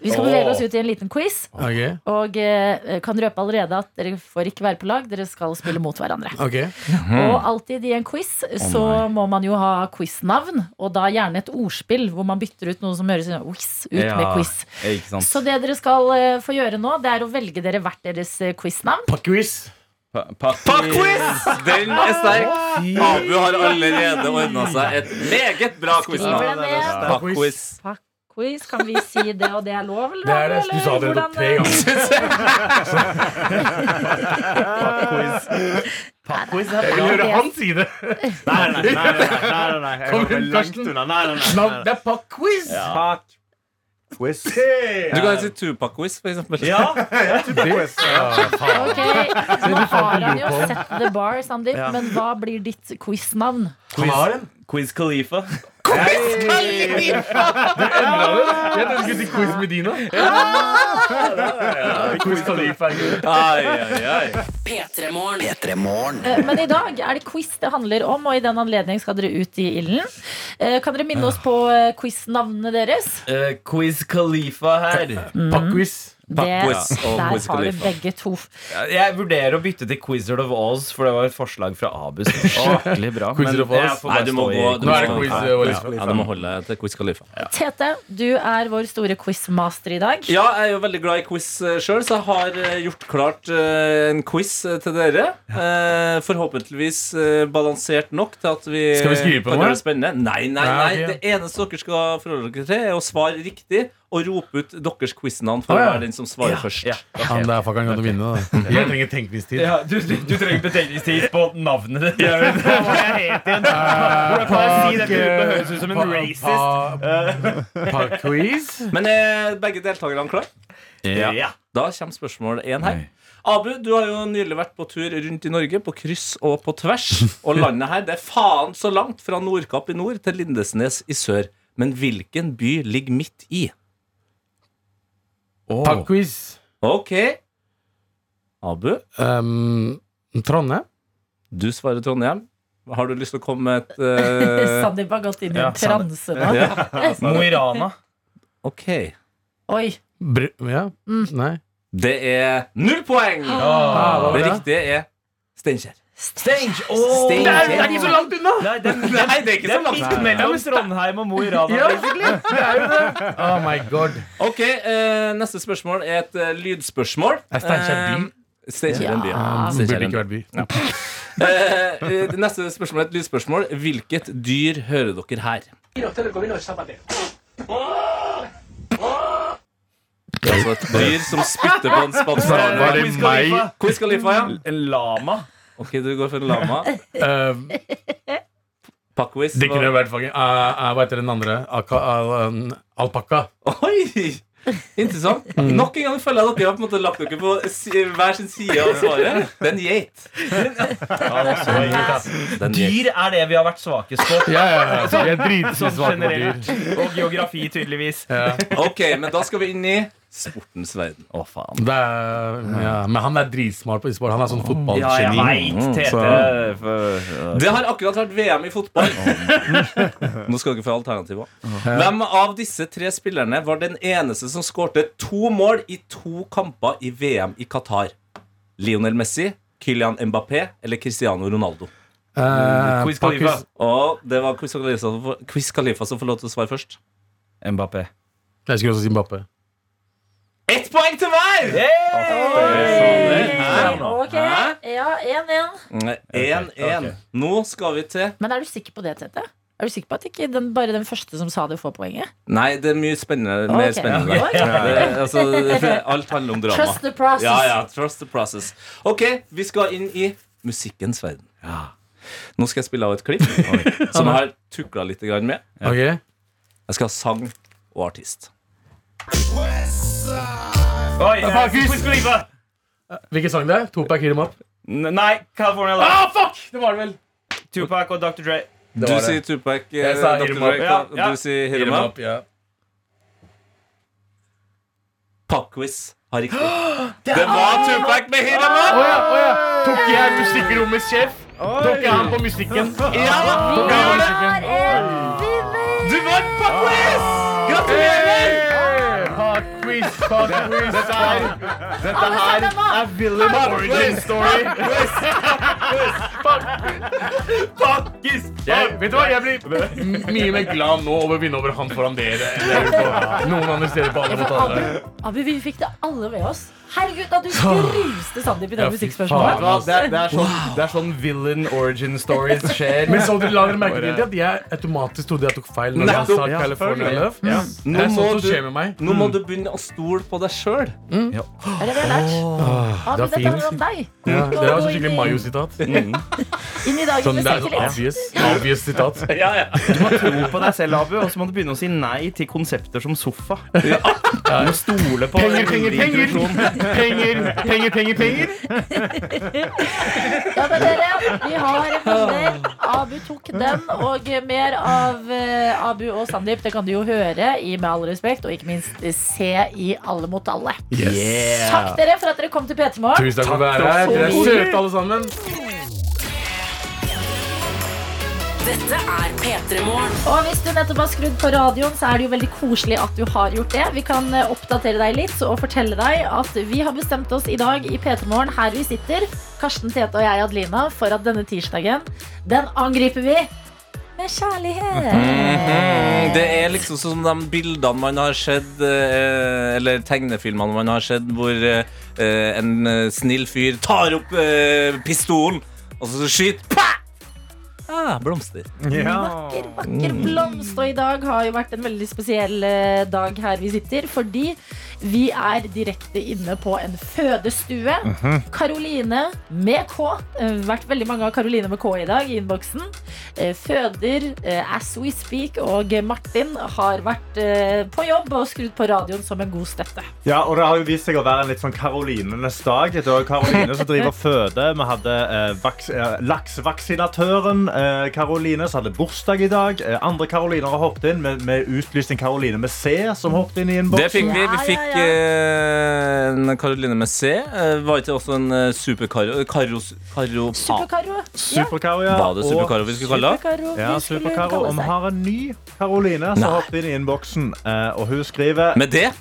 Vi skal bevege oss ut i en liten quiz. Ok, Og eh, kan røpe allerede at dere får ikke være på lag, dere skal spille mot hverandre. ok. Mhm. Og alltid i en quiz så må man jo ha quiznavn, og da gjerne et ordspill hvor man bytter ut noe som høres sånn whiz ut med Ja, quiz. Ikke sant? Så det dere skal eh, få gjøre nå, det er å velge dere hvert deres eh, quiznavn. Pakkvis. Pa- pa- Quiz! Den er sterk. Abu har allerede ordna seg et meget bra quiznavn. Skriver det ned. Pakkquiz. Quiz, kan vi si det, og det er lov, eller? Det er det. eller Du sa det hvordan, tre eh, ganger. Pakkquiz. Jeg vil høre han si det. Nei, nei, nei. nei, nei, nei, nei. Jeg Kom var igjen, langt Karsten. unna. Nei, nei, nei, Slapp, nei. det er pakkquiz! Ja. Fuck. Quiz. Du kan si Tupac-quiz, for eksempel. Ja, Quiz. eh, Ok, Nå har han jo sett The Bar, Sandeep, Ja. men hva blir ditt quiznavn? Han har en. Quiz Khalifa. Jeg tenker til Quiz Medina. Quiz Khalifa. Ai, ai, ai. P3 Morgen. P3 Morgen. Eh, Men i dag er det quiz det handler om, og i den anledning skal dere ut i ilden. Eh, Kan dere minne oss på eh, quiznavnene deres? Eh, quiz Khalifa her. Pakkquiz. Det, Pappquiz og der Wiz har du Khalifa. begge to. Jeg vurderer å bytte til Quizzard of Oz, for det var et forslag fra Abu. som var Skikkelig bra. Quizzard of Oz. jeg får Nei, bare du må stå i gå du Nå er det må- quiz, Nei, Wallis. ja, Du må holde deg til Quiz Khalifa. Tete, du er vår store quizmaster i dag. Ja, jeg er jo veldig glad i quiz sjøl, så jeg har eh, gjort klart eh, en quiz eh, til dere. Eh, Forhåpentligvis eh, balansert nok til at vi Skal vi skrive på kan noe? gjøre det spennende. Nei, nei, Nei, nei. ok. Det eneste dere skal forholde dere til, er å svare riktig og rope ut deres quiznavn for Å, ja. å være den som svarer først. ja. Han der fuckeren kan vinne. Da. Jeg trenger tenkningstid. Ja, du, du, du trenger betenkningstid på navnet ditt. Jeg vet Hvordan kan jeg si det uten å høres ut som en racist? Pakkquiz? Men er begge deltakerne klare? Ja. Da kommer spørsmål én her. Abu, du har jo nylig vært på tur rundt i Norge, på kryss og på tvers. Og landet her det er faen så langt fra Nordkapp i nord til Lindesnes i sør. Men hvilken by ligger midt i? Pakkquiz. OK. Abu, Um, Trondheim? du svarer Trondheim. Har du lyst til å komme med et eh, Sandeep har gått inn i Ja, en transe nå. ja. Mo i Rana. OK. Oi. Br ja. Nei. Det er null poeng! hva var Det det? riktige er Steinkjer. Stange. Ah. Steinkjer. Nei, det er ikke så langt unna! Nei, det er, Nei, det er ikke så langt midt mellom Trondheim og Mo i Rana. basically. Oh my god. Ok, eh, Neste spørsmål er et eh, lydspørsmål. Er Steinkjer by? Eh, Steinkjer er en by, ja. Steinkjer er en Burde by. ikke vært by. Eh, eh, det neste spørsmål er et lydspørsmål. Hvilket dyr hører dere her? altså Det er altså et dyr som spytter på en spansk Var radio. det meg? Quiz Khalifa, ja. En lama. Ok, du går for en lama. Uh, Pakkvis. det kunne vært fucking uh, uh, Hva heter den andre? Alka, al, um, alpakka. Oi! Interessant. Mm. Nok en gang føler jeg at dere har på en måte lagt dere på si- hver sin side av svaret. Det er en geit. Det er en geit. Dyr er det vi har vært svakest på. Ja, ja, ja. Jeg er dritsvak Sånn på dyr. generelt. Og geografi, tydeligvis. Ja. Ok, men da skal vi inn i sportens verden. Å, faen. Det er, ja. Men han er dritsmart på e-sport. Han er sånn Ja, jeg fotballgeni. veit Tete. for- Det har akkurat vært VM i fotball. Nå skal dere få alternativer. Hvem av disse tre spillerne var den eneste som skårte to mål i to kamper i VM i Qatar? Lionel Messi, Kylian Mbappé eller Cristiano Ronaldo? Eh, Quiz Khalifa. Pakkis- Og det var Quiz Khalifa som får- Quiz Khalifa som får lov til å svare først. Mbappé. Jeg skulle også si Mbappé. Ett poeng til hver! Oi, Ok, Hæ? ja, 1-1. 1-1. Mm, Nå skal vi til Men er du sikker på det, Tete? Er du sikker på at ikke den, bare den første som sa det, får poenget? Nei, det er mye spennende, mer Ok. spennende. Ok. Det, altså, alt handler om drama. Trust the process. Ja, ja, trust the process Ok, vi skal inn i musikkens verden Nå skal jeg spille av et klipp Som jeg har tukla litt grann med Ok? Jeg skal ha sang og artist Oi, eh, Markus! Quiz Khalifa. Hvilken sang det er? Tupac Hit Em Up? N- Nei, California Love. Ah, fuck! Det var det vel. Tupac og Dr. Dre. Du var det. sier Tupac, eh, Jeg sa Dr. Hit 'em Dre, Up. og Ja, ja. Du sier Hit 'em Up ja. Pakkvis har riktig Det var Tupac med Hit 'em Up Åja, åja. Tok jeg musikkrommet sjef? Tok jeg han på musikken? Ja, Tok jeg han på musikken? du vant Pakkvis Gratulerer Hey, Dette her, dette her er Willem origin story. Jeg, vet du hva, jeg blir m- mye mer glad nå over å vinne over han foran dere. enn på Noen andre steder på Altså, alle mot alle. Abu, vi fikk det alle med oss. Herregud, da du gruste Sandeep i det Ja, fy musikkspørsmålet. faen, ass. Det er, det, er sånn, det er sånn villain origin stories skjer. Men så dere la dere merke til at jeg automatisk trodde jeg tok feil. Når jeg sa Nettopp, ja, California selvfølgelig. Love Ja. Det Nå er må, sånt som du, skjer med meg. nå må du begynne å stole på deg Er sjøl. det det vi har lært? Abu, det var dette handler om deg. Ja, det er Gå inn også skikkelig i- Mayo-sitat. Inn i dagen Sånn, med det er sånn selvtillit. obvious, obvious sitat. Du må tro på deg selv, Abu, og så må du begynne å si nei til konsepter som sofa. Du må stole på Penger, penger, penger! Penger, penger, penger, penger. Ja, men dere, vi har en vinner. Abu tok den. Og mer av eh, Abu og Sandeep det kan du jo høre i Med all respekt, og ikke minst se i Alle mot alle. Takk dere for at dere kom til P3 Morgen. Tusen takk for å være her. Dere er søte, alle sammen. Dette er P3 Morgen. Og hvis du nettopp har skrudd på radioen, så er det jo veldig koselig at du har gjort det. Vi kan eh, oppdatere deg litt og fortelle deg at vi har bestemt oss i dag i P3 Morgen, her vi sitter, Karsten Tete og jeg, Adelina, for at denne tirsdagen, den angriper vi med kjærlighet. Mm, Det er liksom som de bildene man har sett, eh, eller tegnefilmene man har sett, hvor eh, en eh, snill fyr tar opp eh, pistolen, og så skyter Pah! Ah, blomster. Vakker, vakker blomst. Og i dag har jo vært en veldig spesiell eh, dag her vi sitter, fordi vi er direkte inne på en fødestue. Karoline med K. eh, Vært veldig mange av Karoline med K i dag i innboksen. Eh, Føder eh, As We Speak og Martin har vært eh, på jobb og skrudd på radioen som en god støtte. Ja, og Det har jo vist seg å være en litt sånn Karolinenes dag. Det var Karoline som driver og føder. Vi hadde eh, vaks, eh, laksevaksinatøren eh, Karoline som hadde bursdag i dag. Eh, andre Karoliner har hoppet inn. Vi- Vi utlyste en Karoline med C som hoppet inn i en Det boks. fikk vi. Vi Ja, fikk ja, ja. eh, en Karoline med C. Eh, Var ikke også en eh, superkaro... Karos... Karo... Ah, Superkaro. Ja, Superkaro, ja. var det og- superkaro vi skulle kalle det? superkaro. Ja, vi skulle superkaro. kalle Og vi seg. har en ny Karoline som hoppet inn i innboksen. Eh, og hun skriver Med det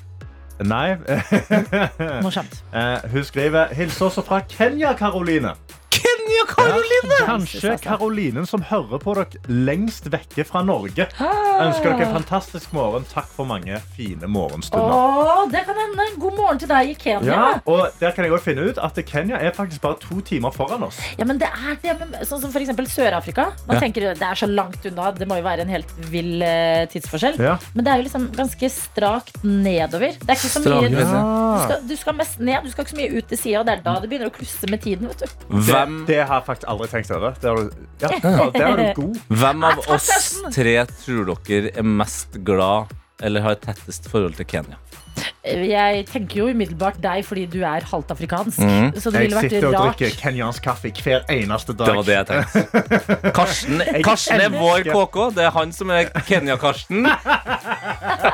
Nei. Morsomt. Eh, hun skriver Hils også fra Kenya, Karoline. Kenya-Karoline! Kanskje Karolinen som hører på dere lengst vekke fra Norge. Ønsker dere en fantastisk morgen. Takk for mange fine morgenstunder. Å, det kan hende. God morgen til deg i Kenya. Ja, og der kan jeg også finne ut at Kenya er faktisk bare to timer foran oss. Ja, men det er det med, Sånn som for eksempel Sør-Afrika. Man tenker det er så langt unna, det må jo være en helt vill eh, tidsforskjell. Ja. Men det er jo liksom ganske strakt nedover. Det er ikke så mye Strakt du, nedover. du, skal, du skal mest ned, du skal ikke så mye ut til sida, og det er da det begynner å klusse med tiden. vet du Det, Hvem, det har jeg faktisk aldri tenkt over. Der er du, ja, ja, der er du god. hvem av oss tre tror dere er mest glad eller har et tettest forhold til Kenya? Jeg tenker jo umiddelbart deg fordi du er halvt afrikansk. Mhm. Så det Jeg ville vært sitter og rart. drikker kenyansk kaffe hver eneste dag. Det var det jeg tenkte. Karsten, Karsten er vår KK. Det er han som er Kenya-Karsten.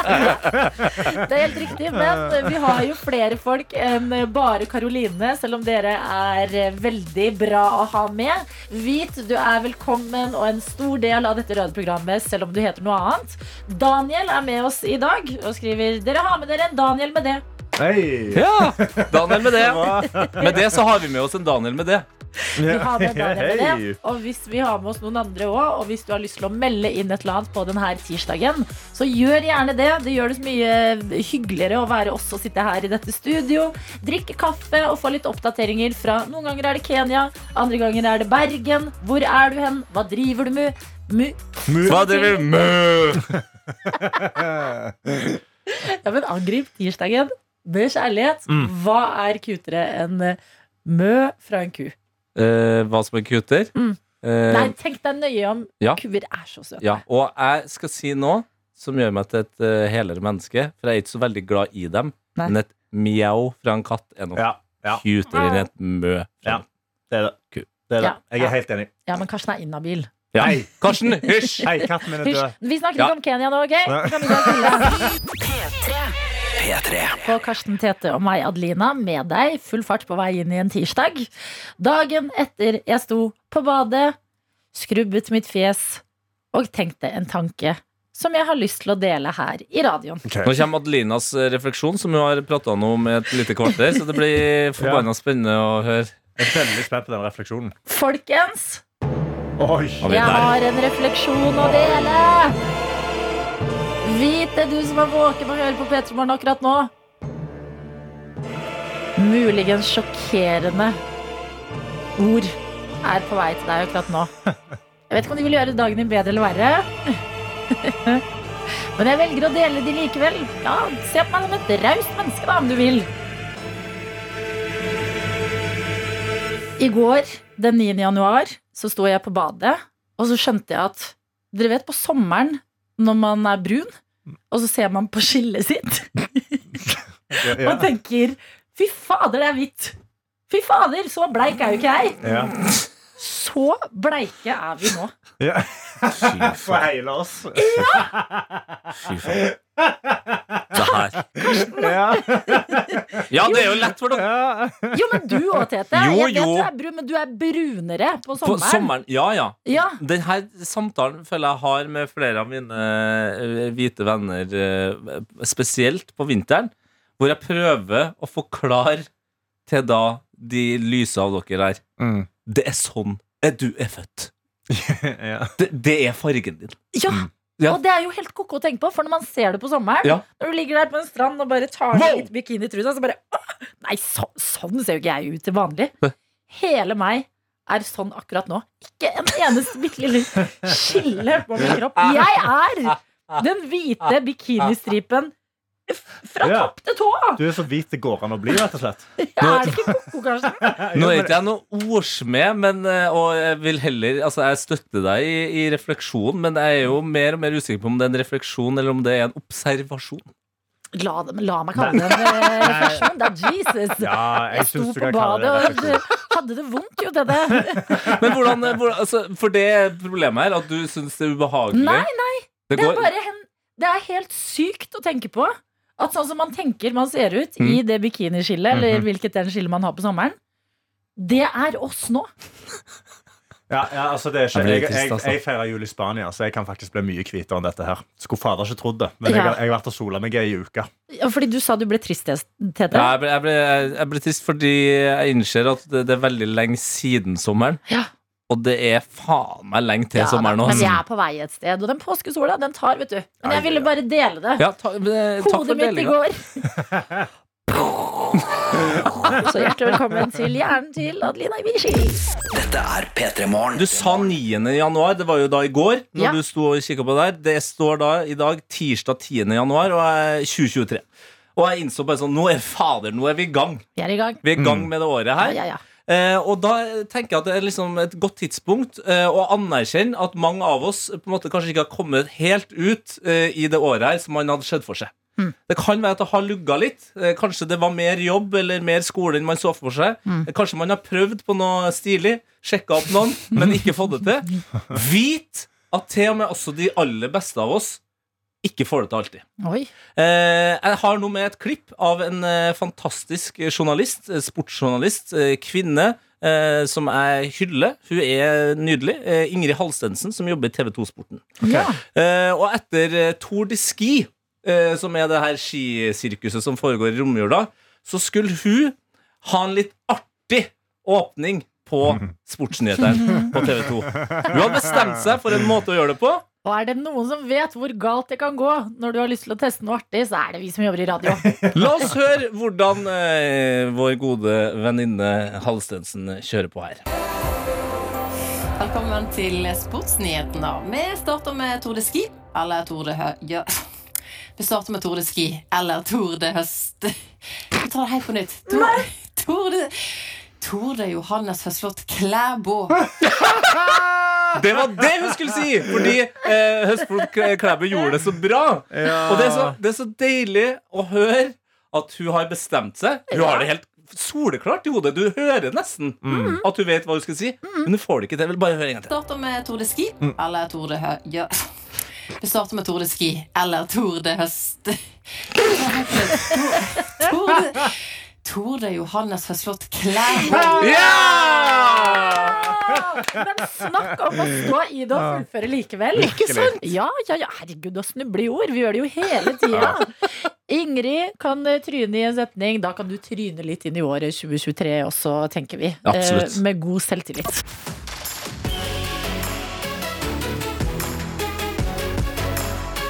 Det er helt riktig, men eh, vi har jo flere folk enn eh, bare Karoline, selv om dere er eh, veldig bra å ha med. Vit, du er velkommen og en stor del av dette røde programmet, selv om du heter noe annet. Daniel er med oss i dag og skriver Dere har med dere en Daniel med det. Hei. Ja, Daniel med det. Med det så har vi med oss en Daniel med det. Vi har med Daniel med Hei. det. Og hvis vi har med oss noen andre òg, og hvis du har lyst til å melde inn et eller annet på denne tirsdagen, så gjør gjerne det. Det gjør det så mye hyggeligere å være oss og sitte her i dette studio. Drikke kaffe og få litt oppdateringer fra Noen ganger er det Kenya, andre ganger er det Bergen. Hvor er du hen? Hva driver du med? Mu Hva driver du med? ja, men angrip tirsdagen med kjærlighet. Hva er kutere enn eh, mø fra en ku? Eh, Hva som er kuter? Mm. Eh, Nei, tenk deg nøye om ja. kuer er så søte. Ja, og jeg skal si noe som gjør meg til et eh, helere menneske, for jeg er ikke så veldig glad i dem. Nei. Men et mjau fra en katt er noe Ja, ja. cutere enn et mø. Ja. Det er det. det, er det. Ja. Jeg er helt enig. Ja, men Karsten er inhabil. Ja. Karsten, hysj! Hei, katten min er Hysj, død. vi snakker Ja. ikke om Kenya nå, OK? Kan vi gå videre? P3. På Karsten Tete og meg, Adelina, med deg. Full fart på vei inn i en tirsdag. Dagen etter jeg sto på badet, skrubbet mitt fjes og tenkte en tanke. som jeg har lyst til å dele her i radioen. Nå kommer Adelinas eh, refleksjon, som hun har prata om i et lite kvarter. Så det blir forbanna spennende å høre. Jeg er veldig spent på den refleksjonen. Folkens, Oi. jeg har en refleksjon å dele! Vit det, du som er våken og hører på P3 Morgen akkurat nå. Muligens sjokkerende ord er på vei til deg akkurat nå. Jeg vet ikke om de vil gjøre dagen din bedre eller verre. Men jeg velger å dele de likevel. Ja, Se på meg som et raust menneske, da, om du vil. I går, den 9. januar, så sto jeg på badet, og så skjønte jeg at Dere vet på sommeren når man er brun, og så ser man på skillet sitt og Ja, ja. tenker Fy fader, det er hvitt! Fy fader, så bleik er jo ikke jeg! Ja. Så bleike er vi nå. Ja. Fy For hele oss. faen. Det her. Ja. Ja, det er jo lett for dere. Ja. Jo, men du òg, Tete. Jo, Jeg vet jo. du er brun, men du er brunere på På sommeren. sommeren. Ja, ja. Ja, Denne samtalen føler jeg har med flere av mine eh, hvite venner, eh, spesielt på vinteren, hvor jeg prøver å forklare til da de lyse av dere her. Mm. Det er sånn eh, du er født. Ja. Det, det er fargen din. ja. Mm. Ja. Og det er jo helt ko-ko å tenke på, for når man ser det på sommeren Ja. Når du ligger der på en strand og bare tar ned Wow! litt bikinitrusa, så bare «Åh, Nei, så, sånn ser jo ikke jeg ut til vanlig. Hele meg er sånn akkurat nå. Ikke en eneste bitte lille skille på min kropp. Jeg er den hvite bikinistripen f- fra Ja. topp til tå! Du er så hvit det går an å bli, rett og slett. Jeg er det ikke ko-ko, Karsten? Nå er ikke jeg noe ordsmed, men, eh, og jeg vil heller Altså, jeg støtter deg i, i refleksjon, men jeg er jo mer og mer usikker på om det er en refleksjon eller om det er en observasjon. La, dem- la meg kalle det en eh, refleksjon. Det er Jesus. Ja, jeg Jeg sto syns du på kan kalle badet det og refleksjon. hadde det vondt, jo, Tete. Men hvordan, hvordan altså, For det er problemet her, at du syns det er ubehagelig. Nei, det Det går, er, bare hen, det er helt sykt å tenke på at sånn som man tenker man ser ut i Mm. det bikiniskillet, eller Mhm. hvilket den skillet man har på sommeren, det er oss nå. Ja, ja, altså det er ikke, Jeg blir jeg, trist, jeg, altså. jeg feirer jul i Spania, så jeg kan faktisk bli mye hvitere enn dette her. Skulle fader ikke trodd det, men jeg, Ja. har- jeg har vært og sola meg i ei uke. Ja, Fordi du sa du ble trist, Tete. Ja, jeg, ble, jeg, ble, jeg ble trist fordi jeg innser at det, det er veldig lenge siden sommeren. Ja. Og det er faen meg lenge til Ja, sommeren nå. men jeg altså. er på vei et sted, og den påskesola, den tar, vet du. Men jeg ville bare dele det. Ja, ta, men, eh, takk Hodet for mitt i delinga. går. Så hjertelig velkommen til Hjernen til Adelina Ibishi. Dette er P3 Morgen. Du sa 9. januar, det var jo da i går. Når Ja. du sto og kikket på det der Det står da i dag tirsdag 10. januar og jeg, 2023. Og jeg innså bare sånn Nå er fader, nå er vi i gang. Vi er i gang. Vi er i gang med det året Mm. Ja, her. ja, ja. Eh, og da tenker jeg at det er liksom et godt tidspunkt eh, å anerkjenne at mange av oss på en måte kanskje ikke har kommet helt ut eh, i det året her som man hadde sett for seg. Det kan være at det har lugga litt. Eh, kanskje det var mer jobb eller mer skole enn man så for seg. Eh, Kanskje man har prøvd på noe stilig, sjekka opp noen, men ikke fått det til. Vit at til og med også de aller beste av oss ikke får det til alltid. Oi. Eh, jeg har nå med et klipp av en eh, fantastisk journalist, eh, sportsjournalist, eh, kvinne, eh, som jeg hyller. Hun er nydelig. Eh, Ingrid Halstensen, som jobber i TV 2-sporten. Ja. Eh, og etter eh, Tour de Ski, eh, som er det her skisirkuset som foregår i romjula, så skulle hun ha en litt artig åpning på sportsnyhetene på TV 2. Hun hadde bestemt seg for en måte å gjøre det på. Og er det noen som vet hvor galt det kan gå når du har lyst til å teste noe artig, så er det vi som jobber i radio. La oss høre hvordan eh, vår gode venninne Halstensen kjører på her. Velkommen til sportsnyhetene. Vi starter med Tour de Ski. Eller Tour de Hø... Ja. Vi starter med Tour de Ski. Eller Tour de Høst. Vi tar det helt på nytt. Tour, Tour de Tour de Johannes Høslott Klæbo. Det var det hun skulle si! Fordi eh, Høstflod Klæ- Klæbu gjorde det så bra. Og det er så, det er så deilig å høre at hun har bestemt seg. Hun har det helt soleklart i hodet. Du hører nesten at hun vet hva hun skal si, men hun får det ikke til. Jeg vil bare høre en gang til. starter med Tour de Ski. Eller Tour de Hø... Ja. Vi starter med Tour de Ski. Eller Tour de Høst. Tour de, Tour de Johannes Høslott Klæbo. Ja! Ah, Men snakk om å stå i det og fullføre likevel. Virkelig. Ikke sant? Ja, ja, ja. Herregud, å snuble i ord. Vi gjør det jo hele tida. Ingrid kan eh, tryne i en setning. Da kan du tryne litt inn i året 2023 også, tenker vi. Absolutt. Eh, Med god selvtillit. P3 Morgen.